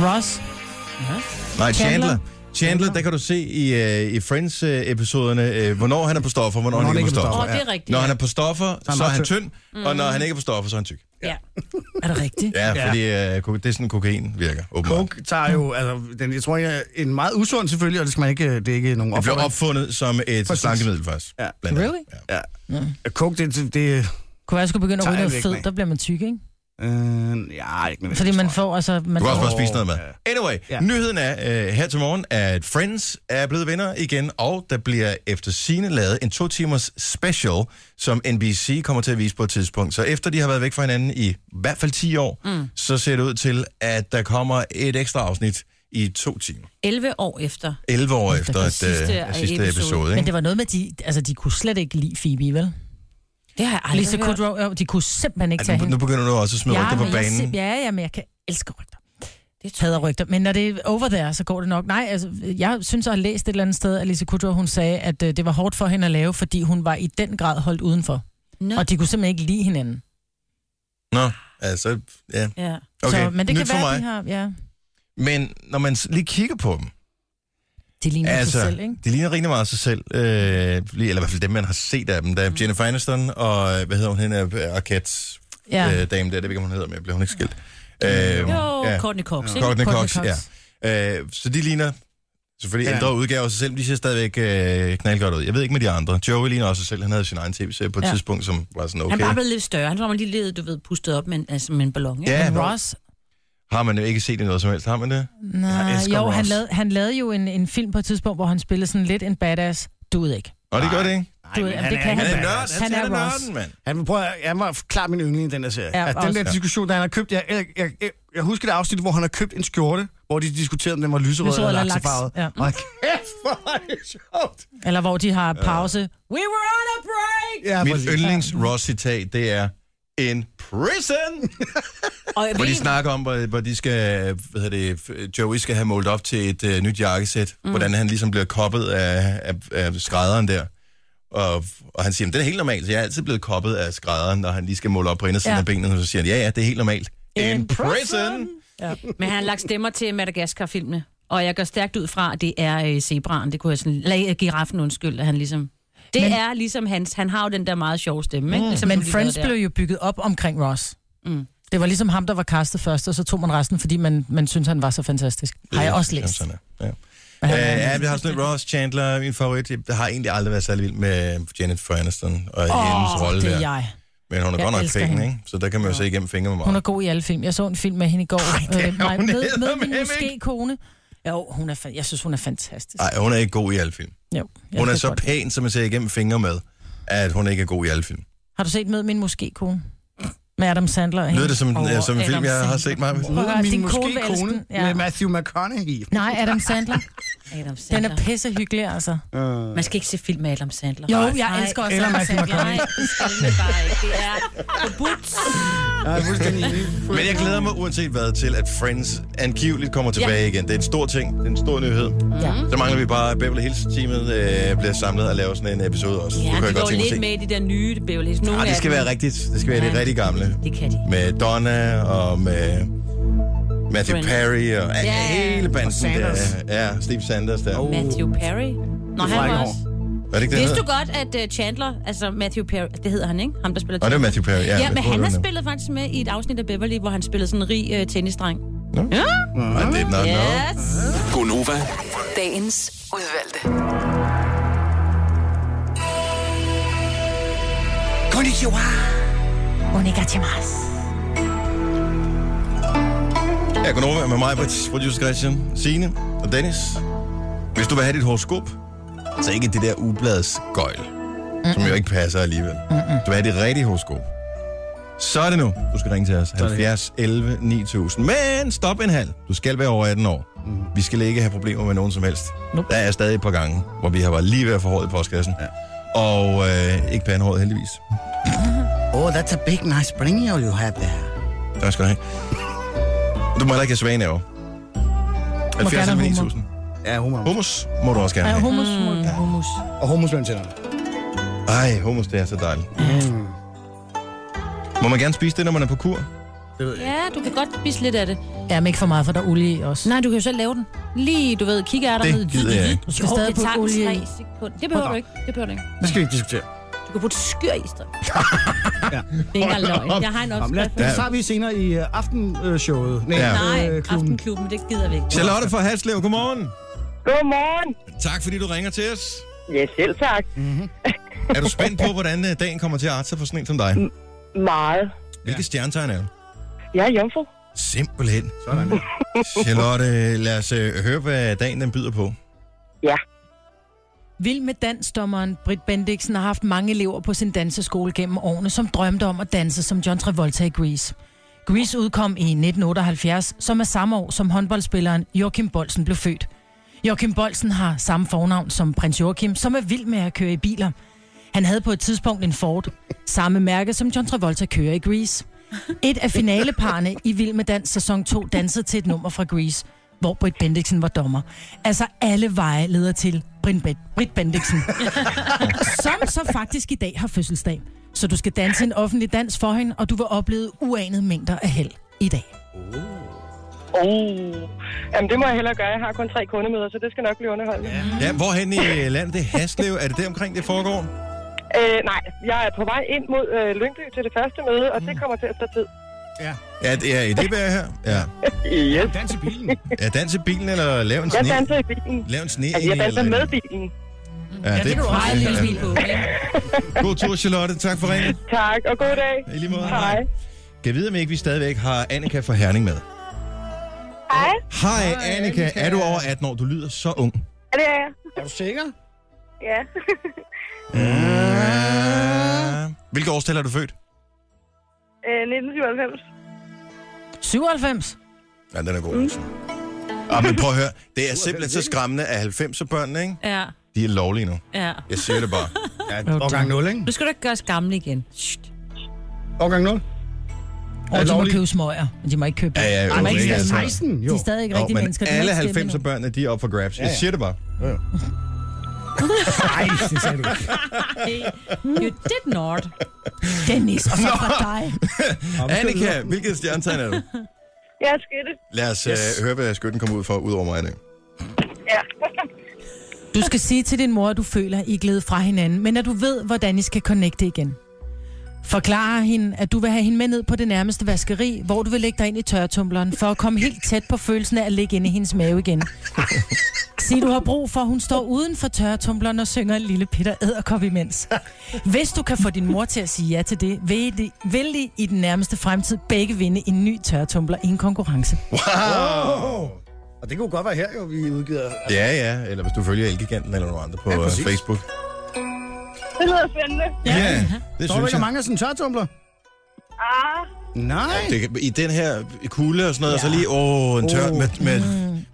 B: Ross.
A: Nej, Chandler.
B: Chandler.
A: Chandler. Chandler, der kan du se i, øh, i Friends-episoderne, øh, hvornår han er på stoffer, hvornår, hvornår han ikke er på stoffer.
C: Åh, oh, det er rigtigt.
A: Når han er på stoffer, så,
D: han
A: så er
D: bare
A: han tynd, mm. og når han ikke er på stoffer, så er han tyk.
C: ja. Er det rigtigt?
A: Ja, ja. fordi øh, ko- det er sådan, kokain virker, åbenbart.
D: Coke tager jo, altså, den, jeg tror, jeg er en meget usund selvfølgelig, og det skal man ikke, øh, det er ikke nogen
A: Det blev
D: opfordring.
A: opfundet som et
D: Præcis.
A: slankemiddel faktisk.
D: Ja.
A: blandt andet.
B: Really?
A: Ja.
D: Ja. Coke, det, det, det
B: Kunne jeg skulle begynde at
D: Tager
B: ryge
D: jeg
B: noget
D: væk,
B: fed,
D: nej.
B: der bliver man tyk, ikke?
D: øh, ja, ikke med
B: Fordi man får, altså... Man
A: Du kan også
B: får,
A: bare spise noget mad. Anyway,
D: Ja.
A: nyheden er øh, her til morgen, at Friends er blevet vinder igen, og der bliver efter sine lavet en to timers special, som NBC kommer til at vise på et tidspunkt. Så efter de har været væk fra hinanden i hvert fald 10 år, mm. så ser det ud til, at der kommer et ekstra afsnit i to timer.
C: 11 år efter.
A: 11 år efter at,
C: sidste
A: sidste, øh, sidste episode.
C: episode.
A: episode
B: Men
A: ikke?
B: det var noget med, at de, altså, de kunne slet ikke lide Phoebe, vel?
C: Det har jeg aldrig
B: Lisa Kudrow, jo, de kunne simpelthen ikke tage
A: Ej, nu,
B: hende.
A: nu begynder du også at smide ja,
B: ja,
A: rygter på
B: men jeg
A: banen.
B: sim- ja, ja, men jeg kan elske rygter.
C: Det tror
B: Hader rygter. Men når det er over der, så går det nok. Nej, altså, jeg synes, at have læst et eller andet sted, at Lisa Kudrow, hun sagde, at øh, det var hårdt for hende at lave, fordi hun var i den grad holdt udenfor.
C: Nå.
B: Og de kunne simpelthen ikke lide hinanden.
A: Nå, altså, ja.
C: Ja.
A: Okay,
B: så, men det
A: nyt
B: kan
A: for
B: være,
A: mig.
B: de har... Ja,
A: Men når man s- lige kigger på dem,
B: de ligner altså,
A: altså,
B: sig selv, ikke?
A: de ligner rigtig meget sig selv. Øh, lige- eller i hvert fald dem, man har set af dem. Der er
B: Mm.
A: Jennifer Aniston og, øh, hvad hedder hun, hende er Arquette
B: Ja.
A: ja. øh, dame der, det ved jeg ikke, om hun hedder, men bliver hun ikke skilt. Øh,
C: Jo, ja. Courtney Cox, ikke?
A: Courtney
B: Courtney
A: Cox,
B: Cox.
A: ja. Øh, så de ligner selvfølgelig
D: Ja.
A: ja. ældre udgaver af sig selv, de ser stadigvæk øh, knaldgodt ud. Jeg ved ikke med de andre. Joey ligner også sig selv, han havde sin egen tv-serie på et
B: Ja.
A: ja. tidspunkt, som var sådan
C: Okay. Han
A: okay.
C: var bare blevet lidt større. Han var lige lidt, du ved, pustet op med en, altså med en ballon. Ikke?
A: Ja,
B: Men
A: Ross.
B: Ross,
A: har man jo ikke set i noget som helst, har man det?
B: nej,
D: elsker
B: Ah, jo, han
D: Ross.
B: lavede, han lavede jo en, en film på et tidspunkt, hvor han spillede sådan lidt en badass. Du ved ikke.
A: Og det gør det ikke.
D: Nej,
B: Du
D: men
B: ved,
D: han
B: det
D: er
B: kan
D: ikke
A: Han
B: han
A: er
D: en
A: nørd,
D: badass.
A: han,
B: Han er
A: han er
B: Ross.
A: nørden, mand.
D: Han, prøv, at- han var klart min yndling i den der serie.
B: Ja,
D: Ja, altså, den
B: også.
D: der diskussion, der han har købt... Jeg, jeg, jeg, jeg, jeg husker det afsnit, hvor han har købt en skjorte, hvor de diskuterede, om den var lyserød,
B: Lyserød
D: eller
B: eller laks.
D: laksefarvet.
B: Ja.
D: Og kæft, hvor er det sjovt!
B: Eller hvor de har pause. We were on a break!
D: Ja,
A: Mit
D: præcis.
A: yndlings-Ross-citat, det er, In prison!
C: Og jeg
A: Hvor
C: ved,
A: de snakker om, hvor, hvor de skal, hvad hedder det, f- Joey skal have målt op til et øh, nyt jakkesæt. Mm. Hvordan han ligesom bliver koppet af, af, af skrædderen der. Og, og han siger, "Men det er helt normalt. Så jeg er altid blevet koppet af skrædderen, når han lige skal måle op på indersiden
B: Ja.
A: ja. af benet. Og så siger han, ja, ja, det er helt normalt. In, prison!
C: men han har lagt stemmer til Madagaskar-filmene. Og jeg går stærkt ud fra, at det er øh, zebraen. Det kunne jeg sådan... Lag giraffen, undskyld, at han ligesom... Det men, er ligesom hans. Han har jo den der meget sjove stemme, ikke? Ligesom
B: Mm. Men
C: du lige
B: Friends
C: havde der.
B: blev jo bygget op omkring Ross. Mm. Det var ligesom ham, der var castet først, og så tog man resten, fordi man, man syntes, han var så fantastisk. Har jeg også læst.
A: Jamen, sådan er.
B: Men han
A: Ja.
B: er
A: Øh,
B: en-
A: ja, vi har sådan lidt Ross Chandler, min favorit. Jeg har egentlig aldrig været særlig vild med Janet Aniston og oh, hendes rolle
B: det er
A: der.
B: jeg.
A: Men hun er
B: Jeg
A: godt nok
B: elsker
A: fækken,
B: hende.
A: ikke? Så der kan man jo se igennem fingre med
B: Hun
A: meget.
B: er god i alle film. Jeg så en film med hende i går.
A: det er
B: øh, nej,
A: hun
B: med, med min
A: eddermame
B: måske kone. Jo, hun er fa- jeg synes, hun er fantastisk.
A: Nej, hun er ikke god i alle film.
B: Jo, jeg
A: Hun er
B: kan
A: så
B: godt.
A: pæn, som man ser igennem fingre med, at hun ikke er god i alle film.
B: Har du set med min måske kone? Med Adam Sandler. og
A: Lyder
B: hende.
A: det som,
B: Over
A: øh, som en
B: Adam
A: film, jeg har
B: Sandler.
A: set meget?
B: Prøv at høre,
D: Min
B: din
D: måske
B: kone vil elske
D: kone
B: den. Ja.
D: med Matthew McConaughey.
B: Nej, Adam Sandler.
C: Adam
B: Den
C: [laughs] Sandler.
B: er pissehyggelig, altså.
C: Man skal ikke se film med Adam Sandler.
B: Jo, jeg elsker også
D: Eller
B: Adam
D: Matthew
B: Sandler.
D: McConaughey.
C: Nej, det skal man bare ikke. Det er forbudt.
D: Ja, jeg er fuldstændig enig.
A: Men jeg glæder mig uanset hvad til, at Friends angiveligt kommer tilbage igen. Det er en stor ting. Det er en stor nyhed.
B: Ja.
A: Så mangler vi bare, at Beverly Hills-teamet øh, bliver samlet og laver sådan en episode også.
C: Ja, de
A: jeg
C: går
A: tænke mig at
C: lidt med i de der nye Beverly Hills. Nogle
A: se. Ah, det
C: af
A: skal
C: dem-
A: være rigtigt. Det skal være det
C: Ja.
A: rigtig gamle.
C: Det kan de.
A: Med Donna og med Matthew
C: Friends.
A: Perry og ja. hele banden
D: Sanders.
A: der. Ja, Steve Sanders der. Oh.
C: Matthew Perry? Nå,
D: fra
C: han
D: i
C: var
D: går.
C: også...
A: Er det ikke det,
C: Vidste
A: han
C: du godt, at øh, Chandler, altså Matthew Perry, det hedder han, ikke? Ham, der spiller
A: Nå, det er Matthew Perry, ja.
C: Ja, men
A: Jeg tror,
C: han
A: det
C: har
A: var
C: spillet faktisk med i et afsnit af Beverly, hvor han spillede sådan en rig øh, tennisdreng.
A: I did not know.
C: Yes!
J: Gonova.
G: Dagens udvalgte.
J: Konnichiwa.
A: Jeg kan over med mig, Brits, producer Christian, Signe og Dennis. Hvis du vil have dit horoskop, så ikke det der ubladets gøjl, som jo ikke passer alligevel. Du vil have det rigtige horoskop. Så er det nu, du skal ringe til os. 70 11 9000. Men stop en halv. Du skal være over 18 år. Vi skal ikke have problemer med nogen som helst.
B: Nope.
A: Der er stadig et par gange, hvor vi har været lige ved at få håret i postkassen. Og øh, ikke pandehåret heldigvis.
D: Oh, that's a big nice bring you have there.
A: Tak skal du have. Du må heller ikke have svaneaver. 70
B: gerne have
A: 9000.
D: Ja, hummer.
A: Hummus må du også gerne
B: Ja,
A: have.
B: hummus. Mm. hummus.
D: Og hummus mellem tænderne.
A: Ej, hummus, det er så dejligt.
B: Mm.
A: Må man gerne spise det, når man er på kur?
D: Det ved jeg ikke.
C: Ja, du kan godt spise lidt af det.
B: Ja, men ikke for meget, for der er olie i også.
C: Nej, du kan jo selv lave den. Lige, du ved, kigger er der
A: Det
C: ned.
A: gider jeg ikke.
B: Du skal
C: Jo,
B: stadig
C: det tager
B: putte olie i.
C: tre sekunder. Det behøver du ikke. Det behøver du ikke.
D: Det skal vi ikke diskutere.
C: Du kan putte skyr i
A: [laughs]
C: stedet. Det er ikke engang løgn. Jeg har en
D: Jamen, lad,
C: opskrift.
D: det tager vi senere i uh, aftenshowet. Nej,
A: Ja.
C: Nej,
D: øh, klubben.
C: Aftenklubben, det gider vi ikke.
A: Charlotte fra Halslev, godmorgen.
H: Godmorgen.
A: Tak fordi du ringer til os.
H: Ja, selv tak.
B: Mhm.
A: [laughs] Er du spændt på, hvordan øh, dagen kommer til at arte sig for sådan en som dig?
H: Meget.
A: Hvilke stjernetegn er du?
H: Jeg er jomfru.
A: Simpelthen.
D: Sådan.
A: Charlotte, øh, lad os øh, høre, hvad dagen den byder på.
H: Ja.
B: Vild med dansdommeren Britt Bendiksen har haft mange elever på sin danseskole gennem årene, som drømte om at danse som John Travolta i Grease. Grease udkom i 1978, som er samme år, som håndboldspilleren Joachim Bolsen blev født. Joachim Bolsen har samme fornavn som prins Joachim, som er vild med at køre i biler. Han havde på et tidspunkt en Ford, samme mærke som John Travolta kører i Grease. Et af finaleparne i Vild med Dans sæson 2 dansede til et nummer fra Grease, hvor Britt Bendiksen var dommer. Altså alle veje leder til Britt, ben- Britt Bendiksen, som så faktisk i dag har fødselsdag. Så du skal danse en offentlig dans for hende, og du vil opleve uanede mængder af held i dag.
H: Oh. Jamen, det må jeg hellere gøre. Jeg har kun tre kundemøder, så det skal nok blive underholdende. Ja.
A: Ja, hvorhen i øh, landet? Det er Haslev. Er det der omkring, det foregår?
H: Øh, nej, jeg er på vej ind mod øh, Lyngby til det første møde, og det kommer til at tage tid.
A: Ja, det er i det bær her. Ja.
H: Yes.
D: Dans i bilen.
A: Er dans i bilen, eller lav en
H: Jeg
A: sne?
H: danser i bilen.
A: Lav en sne.
H: Altså, jeg danser med bilen.
A: Ja, det,
C: Det kan du også have en lille smil på. ikke?
A: God tur, Charlotte. Tak for ringen.
H: Tak, og god dag.
A: I lige måde.
H: Hej.
A: Kan jeg vide, om ikke vi stadigvæk har Annika fra Herning med?
H: Hej.
A: Hej, Annika. Er du over 18 år? Du lyder så ung.
H: Er det er jeg?
D: Er du sikker?
H: Ja. [laughs]
A: Ja. Hvilket årstal er du født?
H: Øh, 1997.
B: 97?
A: Ja, den er god. Mm. Ah, men prøv at høre. Det er simpelthen så skræmmende, at 90'er børnene, ikke?
C: Ja,
A: De er lovlige nu.
C: ja.
A: Jeg siger det bare.
D: Ja, årgang 0, ikke?
C: Nu skal du ikke gøres gammel igen. Shh.
D: Årgang 0.
B: Og de må
D: lovligt?
B: købe smøger, men de må ikke købe
A: Ja, ja,
B: de, må
A: okay,
B: ikke
A: altså.
B: stemme.
D: 16, jo.
B: de er stadig ikke
A: Jo,
B: rigtige
A: men
B: mennesker. De må
A: alle
B: ikke stemme
A: 90'er børnene, de er op for grabs. Jeg
D: ja.
A: siger det bare.
D: Nej, det sagde du ikke.
C: Hey, You did not.
B: endnu. Dennis, og så fra dig.
A: Annika, hvilket stjernetegn er du?
H: Jeg er skidte.
A: Lad os yes. høre, hvad skytten kommer ud for, ud over mig nu.
H: Ja. [laughs]
B: Du skal sige til din mor, at du føler, at I er glædet fra hinanden, men at du ved, hvordan I skal connecte igen. Forklar hende, at du vil have hende med ned på det nærmeste vaskeri, hvor du vil lægge dig ind i tørretumbleren, for at komme helt tæt på følelsen af at ligge inde i hendes mave igen. Sig, du har brug for, at hun står uden for tørretumbleren og synger Lille Peter Æderkop imens. Hvis du kan få din mor til at sige ja til det, vil I, vil I, i den nærmeste fremtid begge vinde en ny tørretumbler i en konkurrence.
A: Wow!
D: Og det kunne godt være her, jo, vi udgiver. øh,
A: Ja, ja. Eller hvis du følger Elgiganten eller nogen andre på
D: Ja,
A: ja,
D: præcis.
A: Facebook.
H: Det lyder spændende.
A: Ja, ja det
D: Står der
A: synes
D: ikke
A: jeg.
D: mange af sådan tørretumbler?
H: Ah, [laughs]
D: Nej.
A: Det, kan- I den her kulde og sådan noget, ja. så lige, åh, en tør, med, med,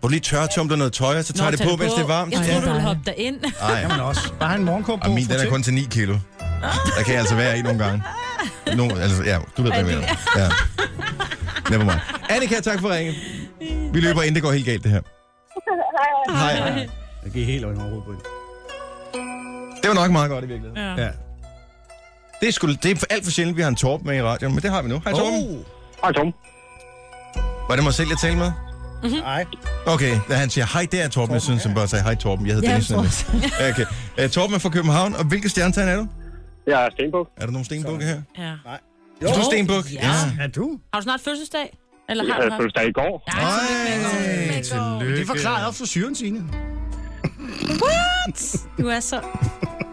A: hvor du lige tørretumler noget tøj, og så tager Nå, det på, hvis det er varmt.
C: Jeg
A: Ja.
C: tror, du
B: Ej,
C: vil
B: dejligt.
C: hoppe dig ind.
A: Ej,
D: Jamen også. Bare en morgenkåb på.
A: og min den er kun til 9 kilo. Der kan jeg altså være i nogle gange. Nogle, altså, ja, du ved, hvad jeg mener. Ja. Never mind. Annika, tak for ringen. Vi løber, inden det går helt galt, det her. Hej. Hej.
D: Jeg gik helt over hovedet på hende.
A: Det var nok meget godt i virkeligheden.
D: Ja.
A: Det er, sgu, det er alt for sjældent, vi har en Torben med i radioen, men det har vi nu. Hej Torben.
D: Oh.
H: Hej, Tom.
A: Var det mig selv, jeg talte med?
D: Nej.
A: Okay, da han siger hej, det er Torben. Jeg synes, han bare sagde hej Torben. Jeg hedder
B: Ja,
A: Dennis.
B: jeg tror
A: nemlig. Okay. Uh, Torben er fra København, og hvilke stjernetegn er du?
E: Jeg er Stenbuk.
A: Er der nogle stenbukke her?
C: Ja.
A: Jo, du er stenbuk?
C: ja.
D: Er du?
C: Har du snart fødselsdag? Eller
E: Jeg
C: har du
E: havde
C: haft?
E: fødselsdag i går.
C: Nej,
A: Ej, tillykke.
D: Det øh, forklarer også for syren, Signe.
C: Du er så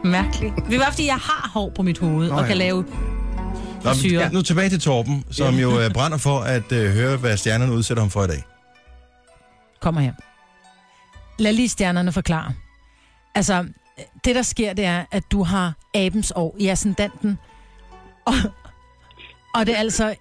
C: mærkelig. Det er bare, fordi jeg har hår på mit hoved, og kan lave...
A: Nå, men,
C: syre.
A: ja, nu tilbage til Torben, som jo uh, brænder for at uh, høre, hvad stjernerne udsætter ham for i dag.
B: Kommer her. Lad lige stjernerne forklare. Altså, det der sker, det er, at du har abens år i ascendanten. Og, og det er altså...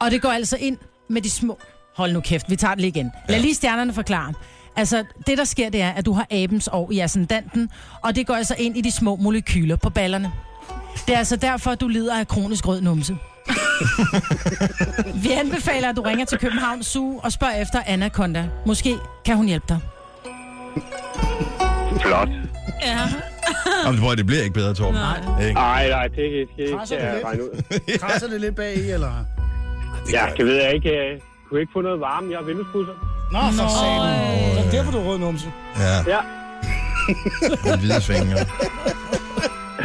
B: Og det går altså ind med de små... Hold nu kæft, vi tager det lige igen. Lad lige stjernerne forklare. Altså, det der sker, det er, at du har abens år i ascendanten, og det går altså ind i de små molekyler på ballerne. Det er altså derfor, du lider af kronisk rød numse. Vi anbefaler, at du ringer til København Zoo og spørger efter Anaconda. Måske kan hun hjælpe dig.
K: Flot.
C: Ja.
A: Jamen, prøv, at det bliver ikke bedre, Torben. Nej. Ikke?
K: Nej, nej, det skal jeg
D: Krasser
K: ikke øh,
D: det lidt? [laughs]
K: regne ud.
D: Krasser det lidt bag i, eller?
K: Ja, det ved jeg ikke. øh, Kunne ikke få noget varme? Jeg er vinduespudser.
D: Nå, for satan. Så derfor du rød numse.
A: Ja, [laughs]
K: Ja,
A: med hvide fingre.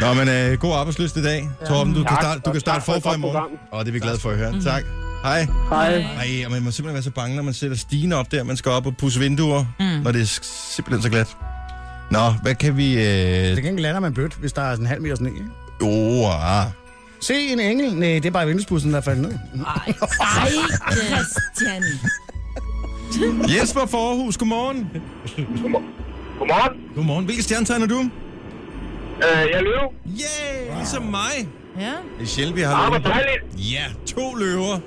A: Nå, men øh, god arbejdsløst i dag, Torben. Du, kan
K: Tak,
A: starte, du
K: og
A: kan starte
K: tak for et
A: forfra i
K: godt
A: morgen.
K: program. Mm.
A: Og det er vi glade for at høre. Tak. Hej.
K: hej.
A: Ej, og man må simpelthen være så bange, når man sætter stigen op der. Man skal op og pusse vinduer, mm. når det er s- simpelthen så glat. Nå, hvad kan vi... Øh...
D: Det kan ikke lande man blødt, hvis der er sådan en halv meter sne. ikke?
A: Jo, ah.
D: Se en engel. Nej, det er bare vinduespussen, der er faldet ned.
C: Ej, Ej, Christian.
A: Jesper Forhus, godmorgen.
K: Godmorgen.
A: Godmorgen. Hvilke stjernetegn er du?
K: Øh, jeg løber.
A: Yeah, ligesom mig.
B: Ja.
A: Det er sjældent, vi
K: Ah,
A: har
K: hvor
A: løver.
K: dejligt.
A: Ja, to løver.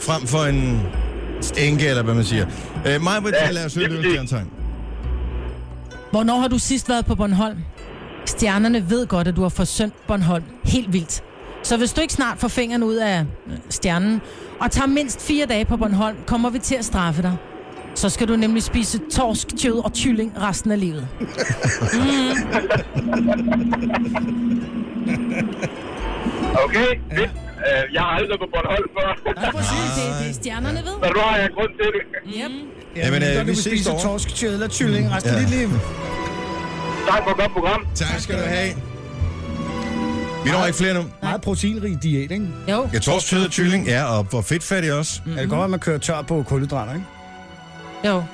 A: Frem for en stænke, eller hvad man siger. Øh, mig vil
K: Ja,
A: lade os høre
K: det er
A: løbet stjernetegn.
B: Hvornår har du sidst været på Bornholm? Stjernerne ved godt, at du har forsømt Bornholm helt vildt. Så hvis du ikke snart får fingeren ud af øh, stjernen, og tager mindst fire dage på Bornholm, kommer vi til at straffe dig. Så skal du nemlig spise torsk, kød og kylling resten af livet.
K: Okay, fedt. Øh, jeg har aldrig været på Bornholm før,
B: Ja, præcis. Det, det er stjernerne ved.
K: så nu har jeg grund til det.
A: Jamen, øh,
D: så
A: vi
D: vil
A: ses
D: spise
A: derovre.
D: torsk, tjødel og kylling resten af
A: Ja.
D: dit liv.
K: Tak for et godt program.
A: Tak skal du have. Vi når ikke flere nu.
D: Meget proteinrig diæt, ikke? Mm-hmm.
B: Jo.
A: Jeg tror, sød og kylling ja, og hvor fedtfattig også.
D: Er det godt, at man kører tør på kulhydrater, ikke?
B: Jo.
D: På en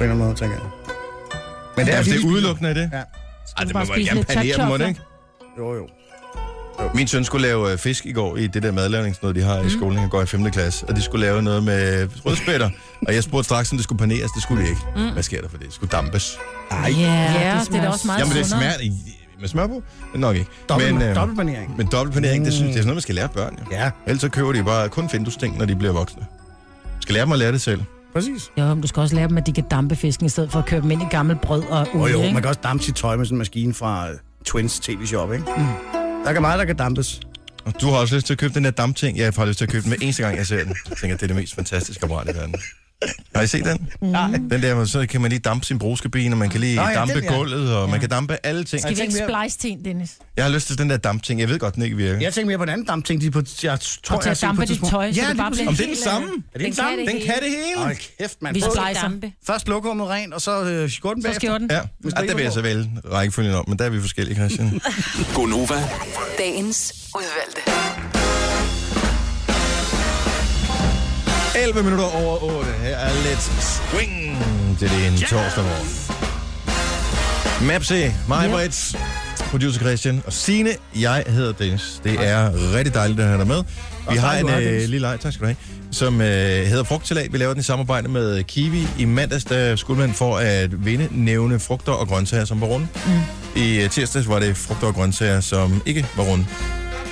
D: eller anden måde, tænker jeg.
A: Men det er,
D: fordi,
A: det
D: vi
A: er
D: spiser-
A: udelukkende af det.
D: Ja.
A: Ej, det
B: bare
A: må man
B: spise
A: gerne
B: lidt
A: panere dem, må det
B: chachofer.
A: ikke?
D: Jo, jo.
A: Min søn skulle lave øh, fisk i går i det der madlavningsnød, de
B: Mm.
A: har i skolen. Han går i 5. klasse, og de skulle lave noget med
B: [laughs]
A: rødspætter. og jeg spurgte straks, om det skulle paneres. Det skulle det ikke. Mm. Hvad sker der for det? Det skulle dampes.
B: Ej. Ja,
C: det
B: det, det er da
C: smager
B: også meget
A: Jamen, det
B: sundere.
A: smager med smør på? Nok ikke.
D: Dobbelt,
A: men,
D: men,
A: øh,
D: dobbeltbanering.
A: men dobbeltpanering, det, synes, det er sådan noget, man skal lære børn. Jo.
D: Ja,
A: Ellers så køber de bare kun findusting, når de bliver voksne. Skal lære dem at lære det selv.
D: præcis.
B: Jo, men du skal også lære dem, at de kan dampe fisken, i stedet for at købe dem ind i gammelt brød og
D: Åh oh,
B: olie,
D: jo,
B: ikke?
D: man kan også dampe sit tøj med sådan en maskine fra øh, Twins TV Shop, ikke? Mm. Der kan meget, der kan dampes.
A: Og du har også lyst til at købe den der dampting. Ja, jeg har lyst til at købe den hver eneste gang, jeg ser den. Jeg tænker, det er det mest fantastiske apparat i verden. Har I set den? Nej. Den der, hvor så kan man lige dampe sin brugskabine, og man kan lige
D: Nå
A: Nå,
D: ja,
A: ja, dampe
D: den der.
A: gulvet, og ja. man kan dampe alle ting.
B: Skal vi ikke
D: tænker
B: splice til en, Dennis?
A: Jeg har lyst til den der dampting. Jeg ved godt, den ikke virker.
D: Jeg tænker mere på en anden dampting, de på, jeg tror,
B: Og til
D: jeg har
B: at
D: set på
B: dampe
D: et
B: dit
D: tidspunkt.
B: tøj, så
D: ja,
B: det bare bliver
A: Om
B: en
A: det er den
B: helt anden.
A: samme?
D: Er det den
C: kan
D: samme?
C: det
A: Den kan det hele.
D: Hold kæft, mand.
B: Vi
D: Både-
B: splicer.
C: Dampe.
D: Først lokummet rent, og så øh, skjorten
B: Så
D: bagefter.
B: skjorten.
A: Ja, og der vil jeg så vælge rækkefølgen om, men der er vi forskellige, Christian.
J: Gonova.
G: Dagens udvalgte.
A: 11 minutter over 8. Her er lidt swing til det en torsdag morgen. Mapse, mig, Brits, producer Christian og Sine. Jeg hedder Dennis. Det er rigtig dejligt at have dig med. Vi har
D: tak,
A: en
D: du er,
A: øh,
D: Dennis.
A: lille leg, tak skal du have, som øh, hedder frugtsalat. Vi laver den i samarbejde med Kiwi. I mandags der skulle man for at vinde nævne frugter og grøntsager, som var runde. Mm. I øh, tirsdags var det frugter og grøntsager, som ikke var runde.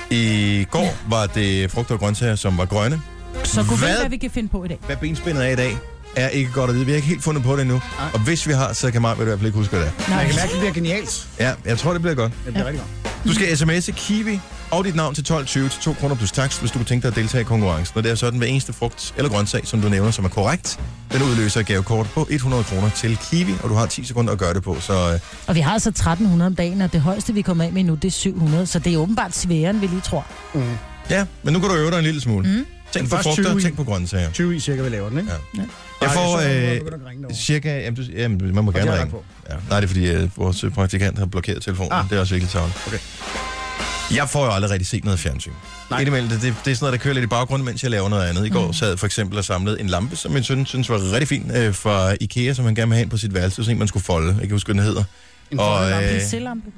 A: I går var det frugter og grøntsager, som var grønne.
B: Så kunne
A: Hvad?
B: vi, hvad vi kan finde på i dag.
A: Hvad benspændet er i dag, er ikke godt at vide. Vi har ikke helt fundet på det endnu. Og hvis vi har, så kan Maja i hvert fald ikke huske, hvad det er.
D: Man kan mærke, det bliver genialt.
A: Ja, jeg tror, det bliver godt.
D: Det bliver rigtig godt.
A: Du skal sms'e Kiwi og dit navn til 1220 til 2 kroner plus tax, hvis du kunne tænke dig at deltage i konkurrencen. Og det er sådan hver eneste frugt eller grøntsag, som du nævner, som er korrekt. Den udløser et gavekort på 100 kroner til Kiwi, og du har 10 sekunder at gøre det på. Så øh,
B: Og vi har altså 1300 om dagen, og det højeste, vi kommer af med nu, det er 700. Så det er åbenbart sværere, end vi lige tror.
A: ja, men nu kan du øve dig en lille smule. Mm. Tænk på
D: Først
A: frugter,
D: 20.
A: tænk på grøntsager.
D: 20 i cirka, vi laver den, ikke?
A: Ja. Jeg får
D: så, øh,
A: øh,
D: begynder at ringe derovre.
A: cirka... Jamen, du, jamen, man må
D: de
A: gerne
D: har
A: ringe.
D: lagt
A: Ja. Nej, det er fordi, øh, vores praktikant har blokeret telefonen. Ah.
D: Ah.
A: Det er også virkelig tavligt.
D: Okay.
A: Jeg får jo aldrig rigtig set noget fjernsyn. Nej.
D: Nej.
A: Indimellem, det, det, det er sådan noget, der kører lidt i baggrunden, mens jeg laver noget andet. I går mm. sad jeg for eksempel og samlede en lampe, som min søn synes var rigtig fin øh, fra Ikea, som han gerne ville have ind på sit værelse. Sådan en, man skulle folde. Jeg kan huske, hvad den hedder.
D: En
B: Lampe,
A: øh,
B: en sildelampe.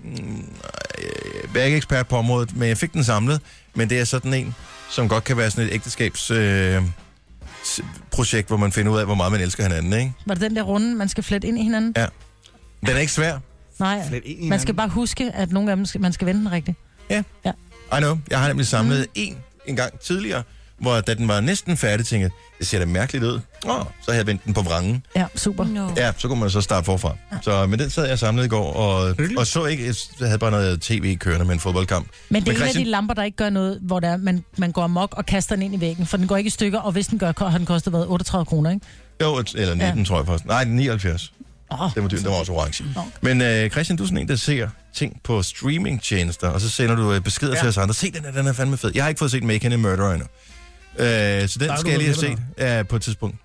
A: jeg er ikke ekspert på området, men jeg fik den samlet. Men det er sådan en, som godt kan være sådan et ægteskabsprojekt, øh, s- projekt, hvor man finder ud af, hvor meget man elsker hinanden, ikke?
B: Var det den der runde, man skal flette ind i hinanden?
A: Ja. Den er ikke svær.
B: Nej,
D: ind i
B: man skal bare huske, at nogle af dem skal, man skal vende den rigtigt.
A: Ja.
B: Ja. Mm.
A: I know. Jeg har nemlig samlet en en gang tidligere, hvor da den var næsten færdig, tænkte jeg, det ser da mærkeligt ud. Åh, så havde jeg vendt den på vrangen.
B: Ja, super.
C: No.
A: Ja, så kunne man så starte forfra. Så, men den sad jeg samlet i går, og, og så ikke, jeg havde bare noget tv kørende med en fodboldkamp.
B: Men det er en af
A: Christian-
B: de lamper, der ikke gør noget, hvor der, man, man går amok og kaster den ind i væggen, for den går ikke i stykker, og hvis den gør, har den kostet hvad, 38 kroner, ikke?
A: Jo, et- eller 19, ja. tror jeg faktisk. Nej, 79.
B: Oh,
A: Den var, dyr, den var også orange.
B: Nå.
A: Men øh, Christian, du er sådan en, der ser ting på streamingtjenester, og så sender du øh, beskeder ja. til os andre. Se den her, den er fandme fed. Jeg har ikke fået set Making a Murderer endnu. Øh, så den
D: du
A: skal jeg lige
D: ved
A: have set ja, på et tidspunkt.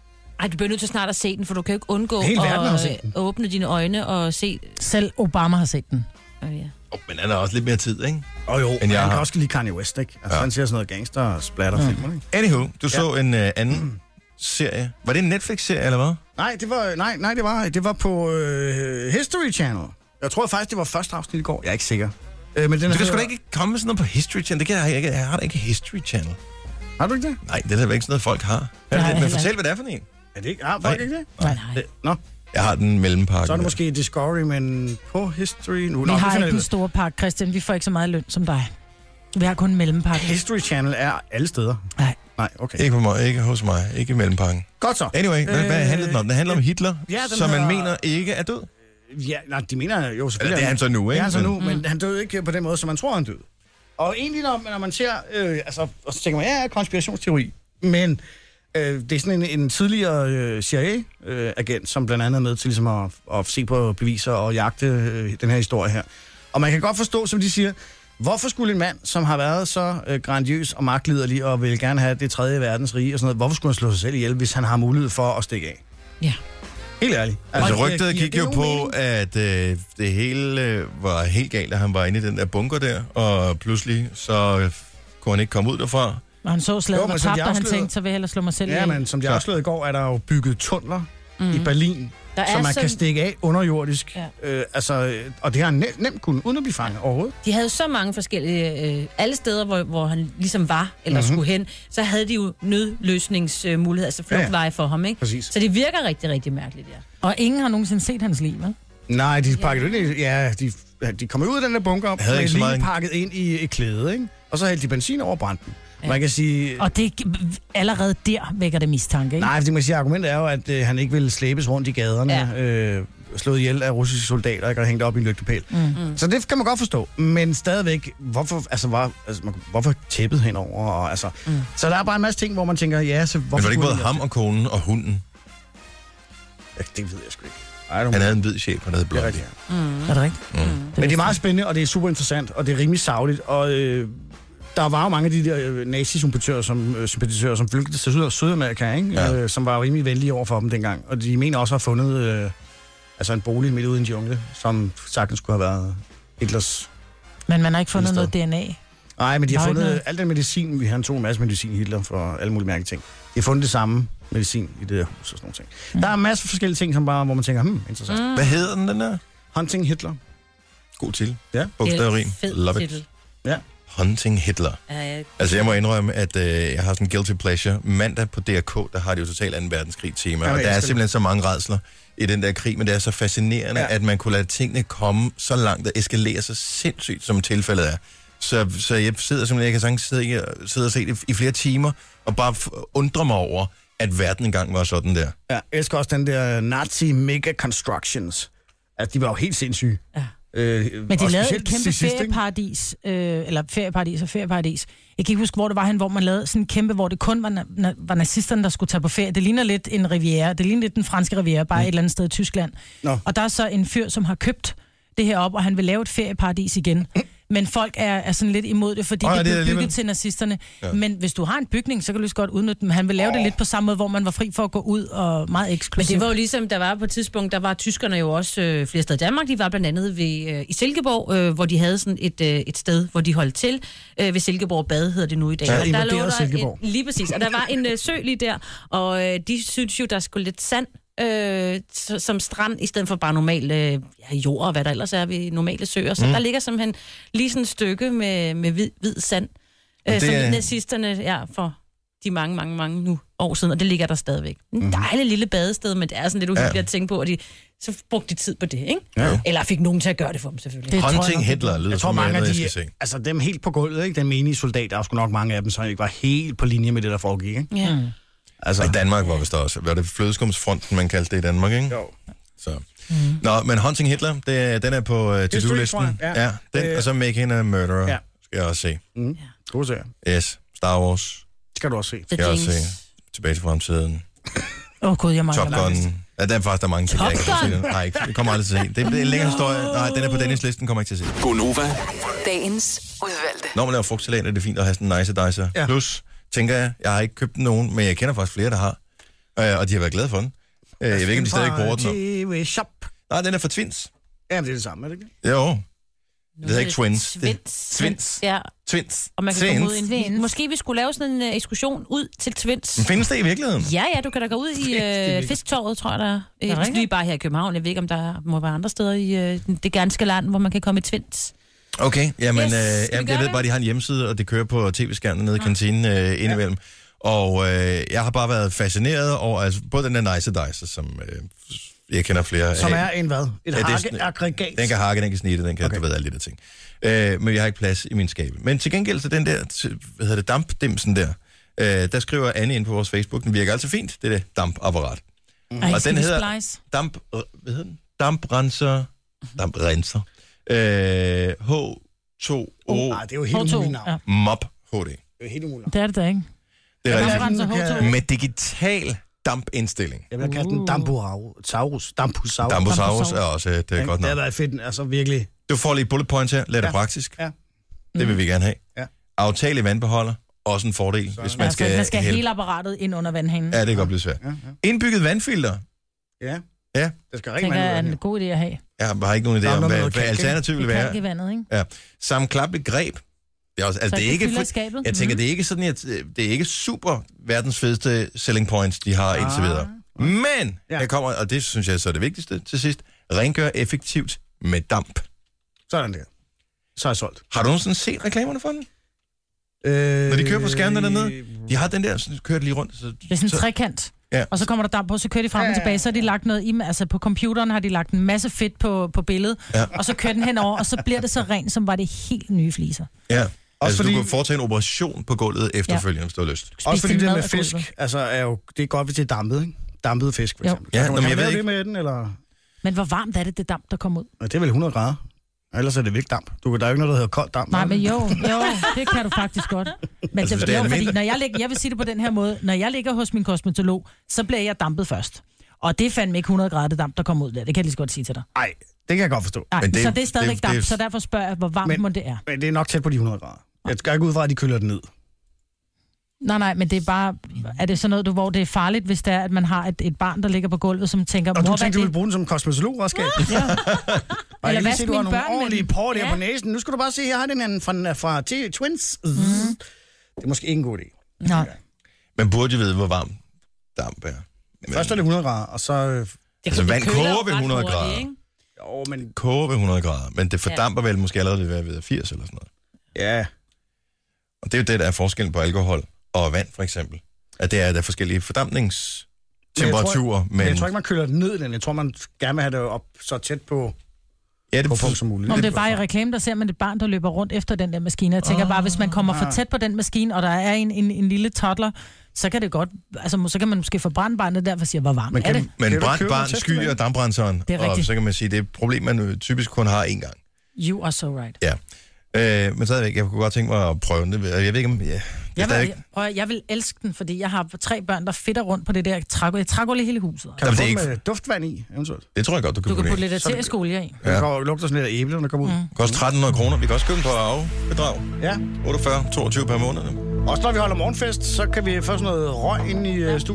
C: Ej, du bliver nødt til snart at se den, for du kan jo ikke undgå
D: Hele verden har
C: at
D: set den.
C: øh, åbne dine øjne og se...
B: Selv Obama har set den.
C: Øh, ja.
A: Oh, men han har også lidt mere tid, ikke?
D: Og jo,
A: jeg
D: men jeg han
A: har-
D: kan også lide Kanye West, ikke? Altså,
A: Ja. Mm.
D: ja. han ser sådan noget gangster og splatterfilmer, ikke?
A: Anywho, du ja. så en øh, anden serie. Var det en Netflix-serie, eller hvad?
D: Nej, det var, nej, nej, det var, det var på øh, History Channel. Jeg tror faktisk, det var første afsnit i går. Jeg er ikke sikker. Øh, men den
A: Du kan sgu da ikke komme med sådan noget på History Channel. Det kan jeg ikke. Jeg har da ikke History Channel.
D: Har du ikke det?
A: Nej, det er da ikke sådan noget, folk har. Hvad er
B: Nej,
A: det? Men
B: heller
A: fortæl, hvad det er for en.
D: Er det ikke? Har
A: Nej.
D: folk ikke det?
B: Nej.
D: Nå,
A: Jeg har den mellempakke.
D: så er det måske Discovery, men på History... Nu,
B: Vi
D: nå,
B: har ikke
D: finder
B: den
D: jeg
B: store pakke, Christian. Vi får ikke så meget løn som dig. Vi har kun en
D: ud af.
B: mellempakke.
D: History Channel er alle steder.
B: Nej.
D: Nej, okay.
A: Ikke, på mig, ikke hos mig. Ikke i mellempakken.
D: Godt så.
A: Øh, Anyway, hvad, øh, hvad handler den om? Den handler om Hitler,
D: ja, den
A: som man
D: hedder-
A: mener ikke er død.
D: Ja, nej, de mener jo selvfølgelig...
A: Eller det er han så nu,
D: Det
A: ikke? Mm.
D: er han så nu, men han døde ikke på den måde, som man tror, han døde. Og egentlig, når, når man ser... Øh, altså, og så tænker man, ja, ja, konspirationsteori. Men øh, det er sådan en, en tidligere øh, CIA-agent, som blandt andet er med til ligesom at, at se på beviser og jagte øh, den her historie her. Og man kan godt forstå, som de siger, hvorfor skulle en mand, som har været så øh, grandiøs og magtliderlig og vil gerne have det tredje verdens rige og sådan noget, hvorfor skulle han slå sig selv ihjel, hvis han har mulighed for at stikke af?
C: ja.
D: Helt ærligt.
A: Altså,
D: det
A: rygtet
D: giver-
A: gik
D: giver
A: jo
D: nogen
A: på, at
D: mening.
A: øh, det hele øh, var helt galt, at han var inde i den der bunker der, og pludselig så øh, kunne han ikke komme ud derfra.
B: Og han så slaget
D: Jo, men
B: og
D: som de
B: tabte, og han
D: afslørede-
B: tænkte, så vil jeg hellere slå mig selv
D: Ja,
B: ihjel.
D: men som de
A: Klart.
D: afslørede i går, er der jo bygget tunneler mm. i Berlin,
C: Der
D: der
C: er
D: som man
C: sådan-
D: kan stikke af underjordisk.
C: Ja.
D: Ja. Øh, altså, øh, og det har han nemt, nemt kunnet, uden at blive fanget overhovedet.
C: De havde så mange forskellige... Øh, alle steder, hvor, hvor han ligesom var, eller
D: Mhm.
C: mm-hmm. skulle hen, så havde de jo nødløsningsmuligheder, øh, altså flugtveje ja, ja. for ham, ikke?
D: Præcis.
C: Så det virker rigtig, rigtig mærkeligt, ja.
B: Og ingen har nogensinde set hans liv, vel?
D: Nej, de pakkede ja. ind i, ja, de, de kom ud af den der bunker, og
A: Havde ikke så
D: lige
A: meget-
D: pakket ind i et klæde, ikke? Og så hældte de benzin over branden. Ja. Man kan sige...
B: Og det allerede der vækker det mistanke, ikke?
D: Nej, fordi man siger, argumentet er jo, at øh, han ikke ville slæbes rundt i gaderne, ja. øh, slået ihjel af russiske soldater, ikke, og hængt op i en lygtepæl. Mm. Mm. Så det kan man godt forstå, men stadigvæk, hvorfor, altså, var, altså, man, hvorfor tæppet henover? Og, altså, mm. Så der er bare en masse ting, hvor man tænker, ja, så hvorfor...
A: Men var det ikke både
D: skulle altså?
A: ham og konen og hunden?
D: han- Ja, det ved jeg sgu ikke. Ej, det er
A: Han havde en hvid chef, han havde Mm.
D: det er
A: blond.
D: rigtigt.
B: Er det rigtigt?
D: Men det er meget spændende, og det er super interessant, og det er rimelig savligt, og... Øh, der var jo mange af de der øh, nazisympatisører, som, øh, sympatisører, som flygtede til Syd- Sydamerika, ikke?
A: Ja.
D: Ja. Øh, som var jo rimelig venlige over for dem dengang. Og de mener også at have fundet øh, altså en bolig midt ude i en jungle, som sagtens skulle have været Hitlers...
B: Men man har ikke fundet
D: Indsted.
B: noget DNA.
D: Nej, men de har
B: Nej,
D: fundet
B: nej.
D: al den medicin, vi han tog en masse medicin Hitler for alle mulige mærkelige ting. De har fundet det samme medicin i det der hus og sådan nogle ting. Mm. Der er masser af forskellige ting, som bare, hvor man tænker, hmm, interessant. Mm.
A: Hvad hedder den, den der?
D: Hunting Hitler.
A: God til.
D: Ja.
A: Bogstaverin.
C: Fed
A: Love it.
C: titel.
D: Ja.
A: Hunting Hitler.
C: Ja, ja.
A: Altså, jeg må indrømme, at øh, jeg har sådan en guilty pleasure. Mandag på DRK, der har de jo totalt 2. verdenskrig-tema,
D: Ja,
A: og
D: jeg
A: der er
D: elsker
A: simpelthen så mange redsler i den der krig, men det er så fascinerende, ja.
D: Ja.
A: at man kunne lade tingene komme så langt og eskalere så sindssygt, som tilfældet er. Så, så jeg sidder simpelthen, jeg kan sagtens sidde, i- sidde og se det i flere timer, og bare f- undre mig over, at verden engang var sådan der.
D: Ja, jeg elsker også den der Nazi Mega Constructions. Altså, de var jo helt sindssyge.
C: Ja.
D: Øh,
B: Men de
D: og
B: lavede et
D: specielt
B: kæmpe
D: til sidst, ikke?
B: ferieparadis, øh, eller ferieparadis og ferieparadis. Jeg kan ikke huske, hvor det var hen, hvor man lavede sådan en kæmpe, hvor det kun var, na- na- var nazisterne, der skulle tage på ferie. Det ligner lidt en riviera, det ligner lidt den franske riviera, bare mm. et eller andet sted i Tyskland.
D: Nå.
B: Og der er så en fyr, som har købt det her op, og han vil lave et ferieparadis igen. Men folk er, er sådan lidt imod det, fordi
A: Åh,
B: oh,
A: ja,
B: det
A: det er
B: blev bygget
A: alligevel-
B: til nazisterne. Ja. Men hvis du har en bygning, så kan du lige så godt udnytte den. Han vil lave oh. det lidt på samme måde, hvor man var fri for at gå ud og meget
C: Men
B: eksklusivt.
C: det var jo ligesom, der var på et tidspunkt, der var tyskerne jo også øh, flere steder i Danmark. De var blandt andet ved, øh, i Silkeborg, øh, hvor de havde sådan et, øh, et sted, hvor de holdt til. Øh, ved Silkeborg Bad hedder det nu i dag.
D: Ja,
C: Og der
D: invaderede Silkeborg.
C: En, lige præcis. Og der var en øh, sø lige der, og øh, de syntes jo, der skulle lidt sand øh, s- som strand, i stedet for bare normal øh, ja, jord og hvad der ellers er ved normale søer. Så mm. der ligger simpelthen lige sådan et stykke med, med hvid, hvid sand, øh,
A: det
C: det, som
A: er-
C: nazisterne ja, for de mange, mange, mange nu år siden, og det ligger der stadigvæk.
A: Mhm.
C: En dejlig lille badested, men det er sådan lidt uhyggeligt ja. at tænke på, at de så brugte de tid på det, ikke?
A: Ja, jo.
C: Eller fik nogen til at gøre det for dem, selvfølgelig.
B: Det tror jeg
A: Hunting
B: nok.
A: Hitler lyder
D: Jeg tror,
A: som
D: mange af
A: andet,
D: de,
A: jeg skal se.
D: altså dem helt på gulvet, ikke? Den menige soldat, der er sgu nok mange af dem, som ikke var helt på linje med det, der foregik, ikke?
C: Ja. Mm.
D: Altså,
A: Og i Danmark var vist der også. Var det flødeskumsfronten, man kaldte det i Danmark, ikke? Jo. Så. Mm. Nå, men Hunting Hitler, det, er- den er på uh,
D: tror jeg,
A: to-do-listen.
D: ja.
A: Ja. den, og så Making a Murderer,
D: Ja.
A: ja. skal jeg også se.
D: god serie.
A: Yes, Star Wars,
D: Det skal du også se.
C: The
A: skal jeg også
C: Jinx.
A: se. Tilbage til fremtiden.
B: Åh oh, gud, jeg mangler
A: Top Gun. Ja, der er faktisk der er mange ting, jeg ikke har set. Nej, ikke- det kommer jeg aldrig til at se. Det er en længere historie. Nej, den er på Dennis listen, kommer jeg ikke til at se.
J: Gonova.
G: Dagens udvalgte.
A: Når man laver frugtsalat, er det fint at have sådan en nice dicer.
D: Ja.
A: Ja. Plus, tænker jeg, jeg har ikke købt nogen, men jeg kender faktisk flere, der har. Øh, og de har været glade for den. Øh, jeg ved ikke, om de stadig bruger den.
D: TV Shop.
A: Nej, den er fra Twins.
D: Ja, men det er det samme, er det ikke?
A: Jo,
C: Nu
A: hedder ikke Twins, det er
C: Twins.
A: Twins.
C: Ja,
A: Twins.
C: og man kan
A: Twins.
C: komme ud i en... Måske vi skulle lave sådan en uh, ekskursion ud til Twins.
A: Men Findes det i virkeligheden?
C: Ja, ja, du kan da gå ud i øh, Fisktorvet, tror jeg, der er. Øh,
B: rigtigt?
C: det er bare her i København. Jeg ved ikke, om der må være andre steder i øh, det ganske land, hvor man kan komme i Twins.
A: Okay, jamen,
C: Yes,
A: yes, øh,
C: skal vi
A: jamen
C: gøre
A: jeg ved
C: det?
A: bare, at de har en hjemmeside, og det kører på tv-skærmen nede i kantinen øh, indimellem. Og øh, jeg har bare været fascineret over altså, både den der nice dicer, som øh, jeg kender flere
D: Som
A: af.
D: er en hvad? Et
A: Ja, det er sådan-
D: hakkeaggregat.
A: Den kan hakke, den kan snitte, den kan, okay. du ved, alle de der ting. Øh, men jeg har ikke plads i min skabe. Men til gengæld, så den der, t- hvad hedder det, dampdimsen der, øh, der skriver Anne ind på vores Facebook, den virker altså fint, det der dampapparat.
B: Ej,
A: Og
B: skal
A: den
B: vi
A: hedder-
B: splice?
A: Damp, øh, hvad hedder den? Damprenser, damprenser, øh, H2O
D: Nej, Ah, det er jo helt
B: H2.
D: umuligt navn.
B: Ja.
A: Mop HD.
D: Det er jo helt umuligt navn.
B: Det er det da ikke.
A: Det er rigtigt.
B: Damprenser H2O.
A: Med digital dampindstilling.
D: Jeg vil kalde
B: Uh.
D: den Dambusaurus. Dambusaurus.
A: Damposaurus er også et øh, godt
D: Det har
A: navn.
D: været fedt, altså virkelig.
A: Du får lige bullet points her. Lad det
D: Ja.
A: praktisk.
D: Ja.
A: Det vil vi gerne have.
D: Ja.
A: Aftale i vandbeholder. Også en fordel, hvis man
B: altså, man
A: skal
B: skal have
A: hælde-
B: hele apparatet ind under vandhanen.
A: Ja, det kan godt blive svært.
D: Ja, ja.
A: Indbygget vandfilter.
D: ja.
A: Ja.
D: Det skal
B: Jeg
D: rigtig
B: tænker,
D: mange
B: er
D: ud
B: en
D: af.
B: god idé at have.
A: Jeg har ikke nogen idé
D: Der er
A: om,
D: noget med
A: hvad,
D: noget
A: hvad
D: kalk, ikke?
A: alternativet vil
B: Det
A: være.
B: kan i vandet, ikke?
A: Sammenklappeligt greb. Det er også, altså,
B: Så
A: det er
B: det
A: ikke,
B: fylder
A: fu-
B: skabet.
A: jeg tænker,
B: Mhm.
A: det er ikke sådan, at det er ikke super verdens fedeste selling points, de har
B: Ah.
A: indtil videre. Men,
D: Ja.
A: ja. jeg kommer, og det synes jeg så er det vigtigste til sidst, rengør effektivt med damp.
D: Sådan der. Så er jeg solgt.
A: Har du nogensinde set reklamerne for den?
D: Øh,
A: Når de kører på skærmen dernede? De har den der, så kører de lige rundt. Så,
B: Det er sådan en
A: så,
B: trekant.
A: Ja.
B: Og så kommer der damp på, så kører de frem og tilbage, så har de lagt noget i, altså på computeren har de lagt en masse fedt på, på billedet,
A: Ja.
B: og så kører den henover, og så bliver det så rent, som var det helt nye fliser.
A: ja. Også altså,
D: fordi-
A: du kan foretage en operation på gulvet efterfølgende, ja. hvis du har lyst.
D: Også fordi
B: din
D: det
B: mad
D: med
B: af
D: fisk,
B: gulvet.
D: altså er jo, det er godt, hvis det er dampet, ikke? Dampet fisk, for
B: Jo.
D: eksempel.
A: Ja,
D: Kan du-
A: nå, men
D: kan
A: jeg
D: du
A: ved
D: lave det
A: ikke-
D: med den, eller?
B: Men hvor varmt er det, det damp, der kommer ud?
D: Ja, det er vel 100 grader. Ellers er det væk damp. Du, kan- der er jo ikke noget, der hedder koldt damp.
B: Nej,
D: er
B: men
D: der?
B: jo, jo, det kan du faktisk godt. Men
A: Altså,
B: altså,
A: hvis
B: det,
A: det er
B: jo,
A: det
B: fordi,
A: mindre-
B: når jeg, ligger, jeg vil sige det på den her måde, når jeg ligger hos min kosmetolog, så bliver jeg dampet først. Og det er fandme ikke 100 grader det damp, der kommer ud der. Det kan jeg lige så godt sige til dig.
D: Ej, det kan jeg godt forstå.
B: Nej,
A: Men det-
B: så det er stadigvæk
A: det-
B: damp,
A: det-
B: så derfor spørger jeg, hvor varmt
D: Men-
B: må det er.
D: Men det er nok tæt på de 100 grader. Jeg skal ikke ud fra, at de køler den ned.
B: Nej, nej, men det er bare... Er det sådan noget, du, hvor det er farligt, hvis det er, at man har et, et barn, der ligger på gulvet, som tænker,
D: Og
B: mor,
D: du
B: hvad er
D: tænkte, du ville
B: det?
D: bruge den som kosmetologredskab. [laughs] Ja. Og
B: Eller
D: jeg kan lige
B: vaske
D: se, du har
B: mine
D: nogle
B: børn med
D: ordentlige
B: den.
D: porter ja.
B: Ja.
D: på næsen. Nu skal du bare se, her har den anden fra, fra T- Twins. Mm.
B: Mhm.
D: Det er måske ikke en god idé.
B: Nå,
A: Man burde jo vide, hvor varm damp er. Men,
D: Først er det 100 grader, og så... øh,
A: Altså,
C: Det
A: vand
C: køler jo
A: koger ved
C: ret
A: 100
C: hurtigt,
A: grader.
C: ikke?
D: Jo, men...
A: koger ved 100 grader, men det fordamper ja. vel måske allerede ved, ved 80 eller sådan noget.
D: Ja.
A: Og det er jo det, der er forskellen på alkohol og vand, for eksempel. At det er, at der er forskellige fordampningstemperaturer, men...
D: Men jeg tror ikke, man køler den ned, den. Jeg tror, man gerne vil have det op så tæt på,
A: ja, det,
D: på punkt som muligt.
B: Om det er bare i reklame, der ser man et barn, der løber rundt efter den der maskine. Jeg
D: Ah.
B: tænker bare, hvis man kommer for tæt på den maskine, og der er en, en, en lille toddler, så kan det godt, altså må- så kan man måske forbrænde barnet der, for siger, hvor varmt
D: Men
B: er
D: kan-
B: det?
A: Men
D: Kan du
A: brændt
D: købe
A: barn
D: noget
A: skyer
D: testament?
A: dampbrænderen,
B: Det er
A: og
B: rigtigt.
A: så kan man sige, det er et problem, man øh, typisk kun har én gang.
B: You are so right.
A: Ja. Øh, men stadigvæk, jeg kunne godt tænke mig at prøve det. Jeg ved ikke, om... Ja, det er
B: Jeg
A: stadig-
B: vil, prøv, at- jeg vil elske den, fordi jeg har tre børn, der fedter rundt på det der trækul. Jeg trækker hele huset.
A: Jamen,
D: Kan man
A: det
D: få
A: er
D: den
A: ikke-
D: med duftvand i, eventuelt?
A: det tror jeg godt, du kan,
B: Du kan putte
A: ind.
B: lidt af skole i.
D: Ja. Den kommer- lugter sådan lidt af æble, når den kommer ud. Mm.
A: Koster 1300 kroner. Vi kan også købe den på arvebedrag.
D: Ja.
A: 48, 22 per måned.
D: øh,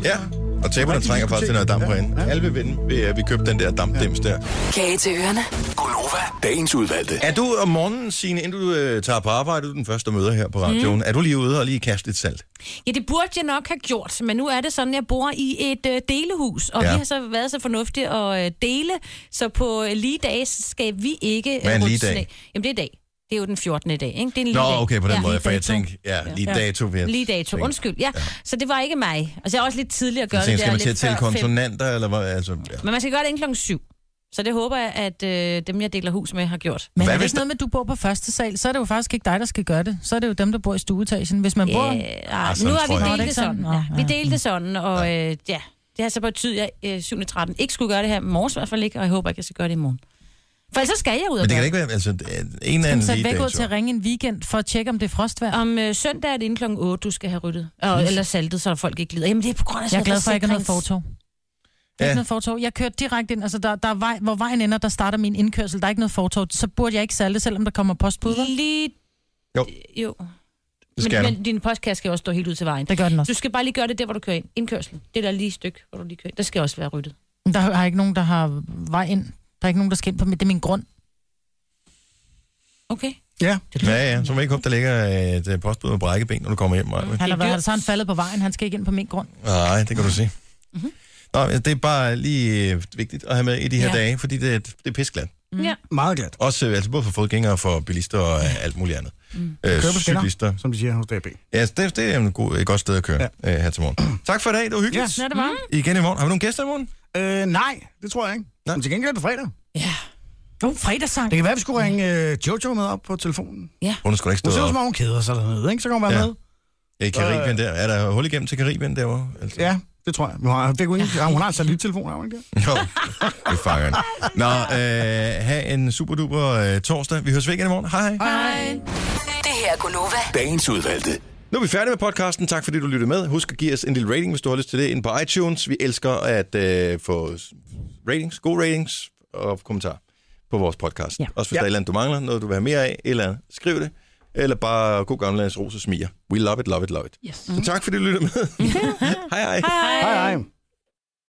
A: Ja, og tæpperne trænger faktisk til noget damp på hende.
D: Ja, ja.
A: Alle vil vinde ved, at vi købte den der dampdims der.
G: Kage til ørerne.
J: Gonova. Dagens udvalgte.
A: Er du om morgenen, Signe, inden du øh, tager på arbejde, du er den første, der møder her på radioen, mm. er du lige ude og lige kaste lidt salt?
C: Ja, det burde jeg nok have gjort, men nu er det sådan, at jeg bor i et øh, delehus, og
A: Ja.
C: ja. vi har så været så fornuftige at øh, dele, så på øh, lige dage skal vi ikke... Øh,
A: Hvad er en
C: rulle
A: lige dag?
C: sne. Jamen, det er i dag. Det er jo den 14. i dag, ikke? Det er en lige
A: Nå,
C: dag.
A: okay, på den
C: Ja.
A: måde, for jeg
C: Lige dato.
A: tænkte, ja, lige
C: Ja.
A: dato. vil jeg
C: Lige dato,
A: tænke.
C: undskyld. Ja. ja, så det var ikke mig. Altså, jeg er også lidt tidlig at gøre
A: Jeg tænkte,
C: det
A: skal
C: der
A: man til at
C: lidt
A: tælle
C: før fem.
A: konsonanter, eller hvad? Altså, ja.
C: Men man skal gøre det inden klokken syv. Så det håber jeg, at øh, dem, jeg deler hus med, har gjort.
B: Men
A: Hvad
B: Hvad er det
A: hvis
B: ikke
A: der-
B: noget med, at du bor på første sal, så er det jo faktisk ikke dig, der skal gøre det. Så er det jo dem, der bor i stueetagen. Hvis man yeah. bor...
C: Ja,
A: sådan
C: Øh, ah, nu
A: tror jeg
C: har vi
A: ikke.
C: delt det sådan.
B: Nå,
C: Ja.
B: ja. Mm.
C: Vi delte det sådan, og øh, ja, det har så betydet, at jeg øh, 7. 13 ikke skulle gøre det her i morges i hvert fald ikke, og jeg håber ikke, jeg skal gøre det i morgen. For ellers så skal jeg ud og
A: Men det
C: gøre
A: kan da ikke være, altså, en af
B: Kan
A: en
B: man sætte
A: lige
B: vækord
A: dato.
B: til at ringe en weekend for at tjekke, om det er frostvær?
C: Om øh, søndag er det inden klokken 8, du skal have ryddet. Og, eller saltet, så folk ikke lider. Jamen, det er på grund af...
B: Jeg er glad for, at jeg ikke har noget
C: forsikrings-
B: fortog. Der er
A: Ja.
B: ikke noget fortog. Jeg kørte direkte ind. Altså, der, der er vej, hvor vejen ender, der starter min indkørsel. Der er ikke noget fortog. Så burde jeg ikke salte, selvom der kommer postbud. vel?
C: Lige... Øh,
A: Jo.
C: jo.
A: Det skal
C: men,
A: du.
C: men din postkasse skal jo også stå helt ud til vejen.
B: Det gør den
C: Du
B: også.
C: skal bare lige gøre det der, hvor du kører ind. Indkørslen. Det der lige et stykke, hvor du lige kører ind. Der skal også være ryddet.
B: Der er ikke nogen, der har vej ind. Der er ikke nogen, der skal ind på mit. Det er min grund.
C: Okay.
D: Ja.
A: Ja, ja, så må jeg ikke håbe, der ligger et øh, postbud med brækkeben, når du kommer hjem, Maja.
B: Han har
C: Det er
B: været,
C: dyrt.
B: så er han faldet på vejen. Han skal ikke ind på min grund.
A: Nej, det kan du sige.
C: Mhm.
A: Nå, det er bare lige øh, vigtigt at have med i de her ja. dage, fordi det, det er pisglat.
C: Mm. Ja.
D: Meget glat.
A: Også øh, altså både for fodgængere, for bilister og øh, alt muligt andet. Mm. Øh,
D: Kør på
A: cyklister.
D: skinner, som de siger hos DAB.
A: Ja, altså, det, det er en god, et godt sted at køre ja. øh, her til morgen. Tak for i dag, det var hyggeligt.
B: Nå, det var.
A: Ja. Igen i morgen. Har vi nogle gæster i morgen?
D: Øh, nej, det tror jeg ikke.
A: Nej.
D: Men til gengæld er det fredag.
C: Ja.
B: Mm. Oh, fredagssang.
D: Det kan være, vi skulle ringe øh, Jojo med op på telefonen.
A: Hun skulle ikke
D: Hun
A: stå
D: ser ud,
A: op.
D: som om hun keder sig dernede, ikke? Så kommer man
A: Ja.
D: med.
A: Ja, I Karibien der. Er der hul igennem til Karibien derovre? Altså.
D: Ja, det tror jeg. Hun har, det kunne ikke, ja, hun har altså en satellittelefon, har hun ikke det?
A: Jo, det fanger den. Nå, øh, have en super duper øh, torsdag. Vi høres ved igen i morgen. Hej, hej.
G: Det her er Gunova.
J: Dagens udvalgte.
A: Nu er vi færdige med podcasten. Tak fordi du lyttede med. Husk at give os en lille rating, hvis du har lyst til det, ind på iTunes. Vi elsker at øh, få s- ratings, gode ratings og kommentarer på vores podcast. Ja. Også hvis ja. der er et eller andet, du mangler, noget du vil have mere af, eller skriv det. Eller bare god gammeldags ros og smiger. We love it, love it, love it. Yes. Så tak fordi du lyttede med. Mm-hmm. [laughs] hej hej.
D: Hej, hej.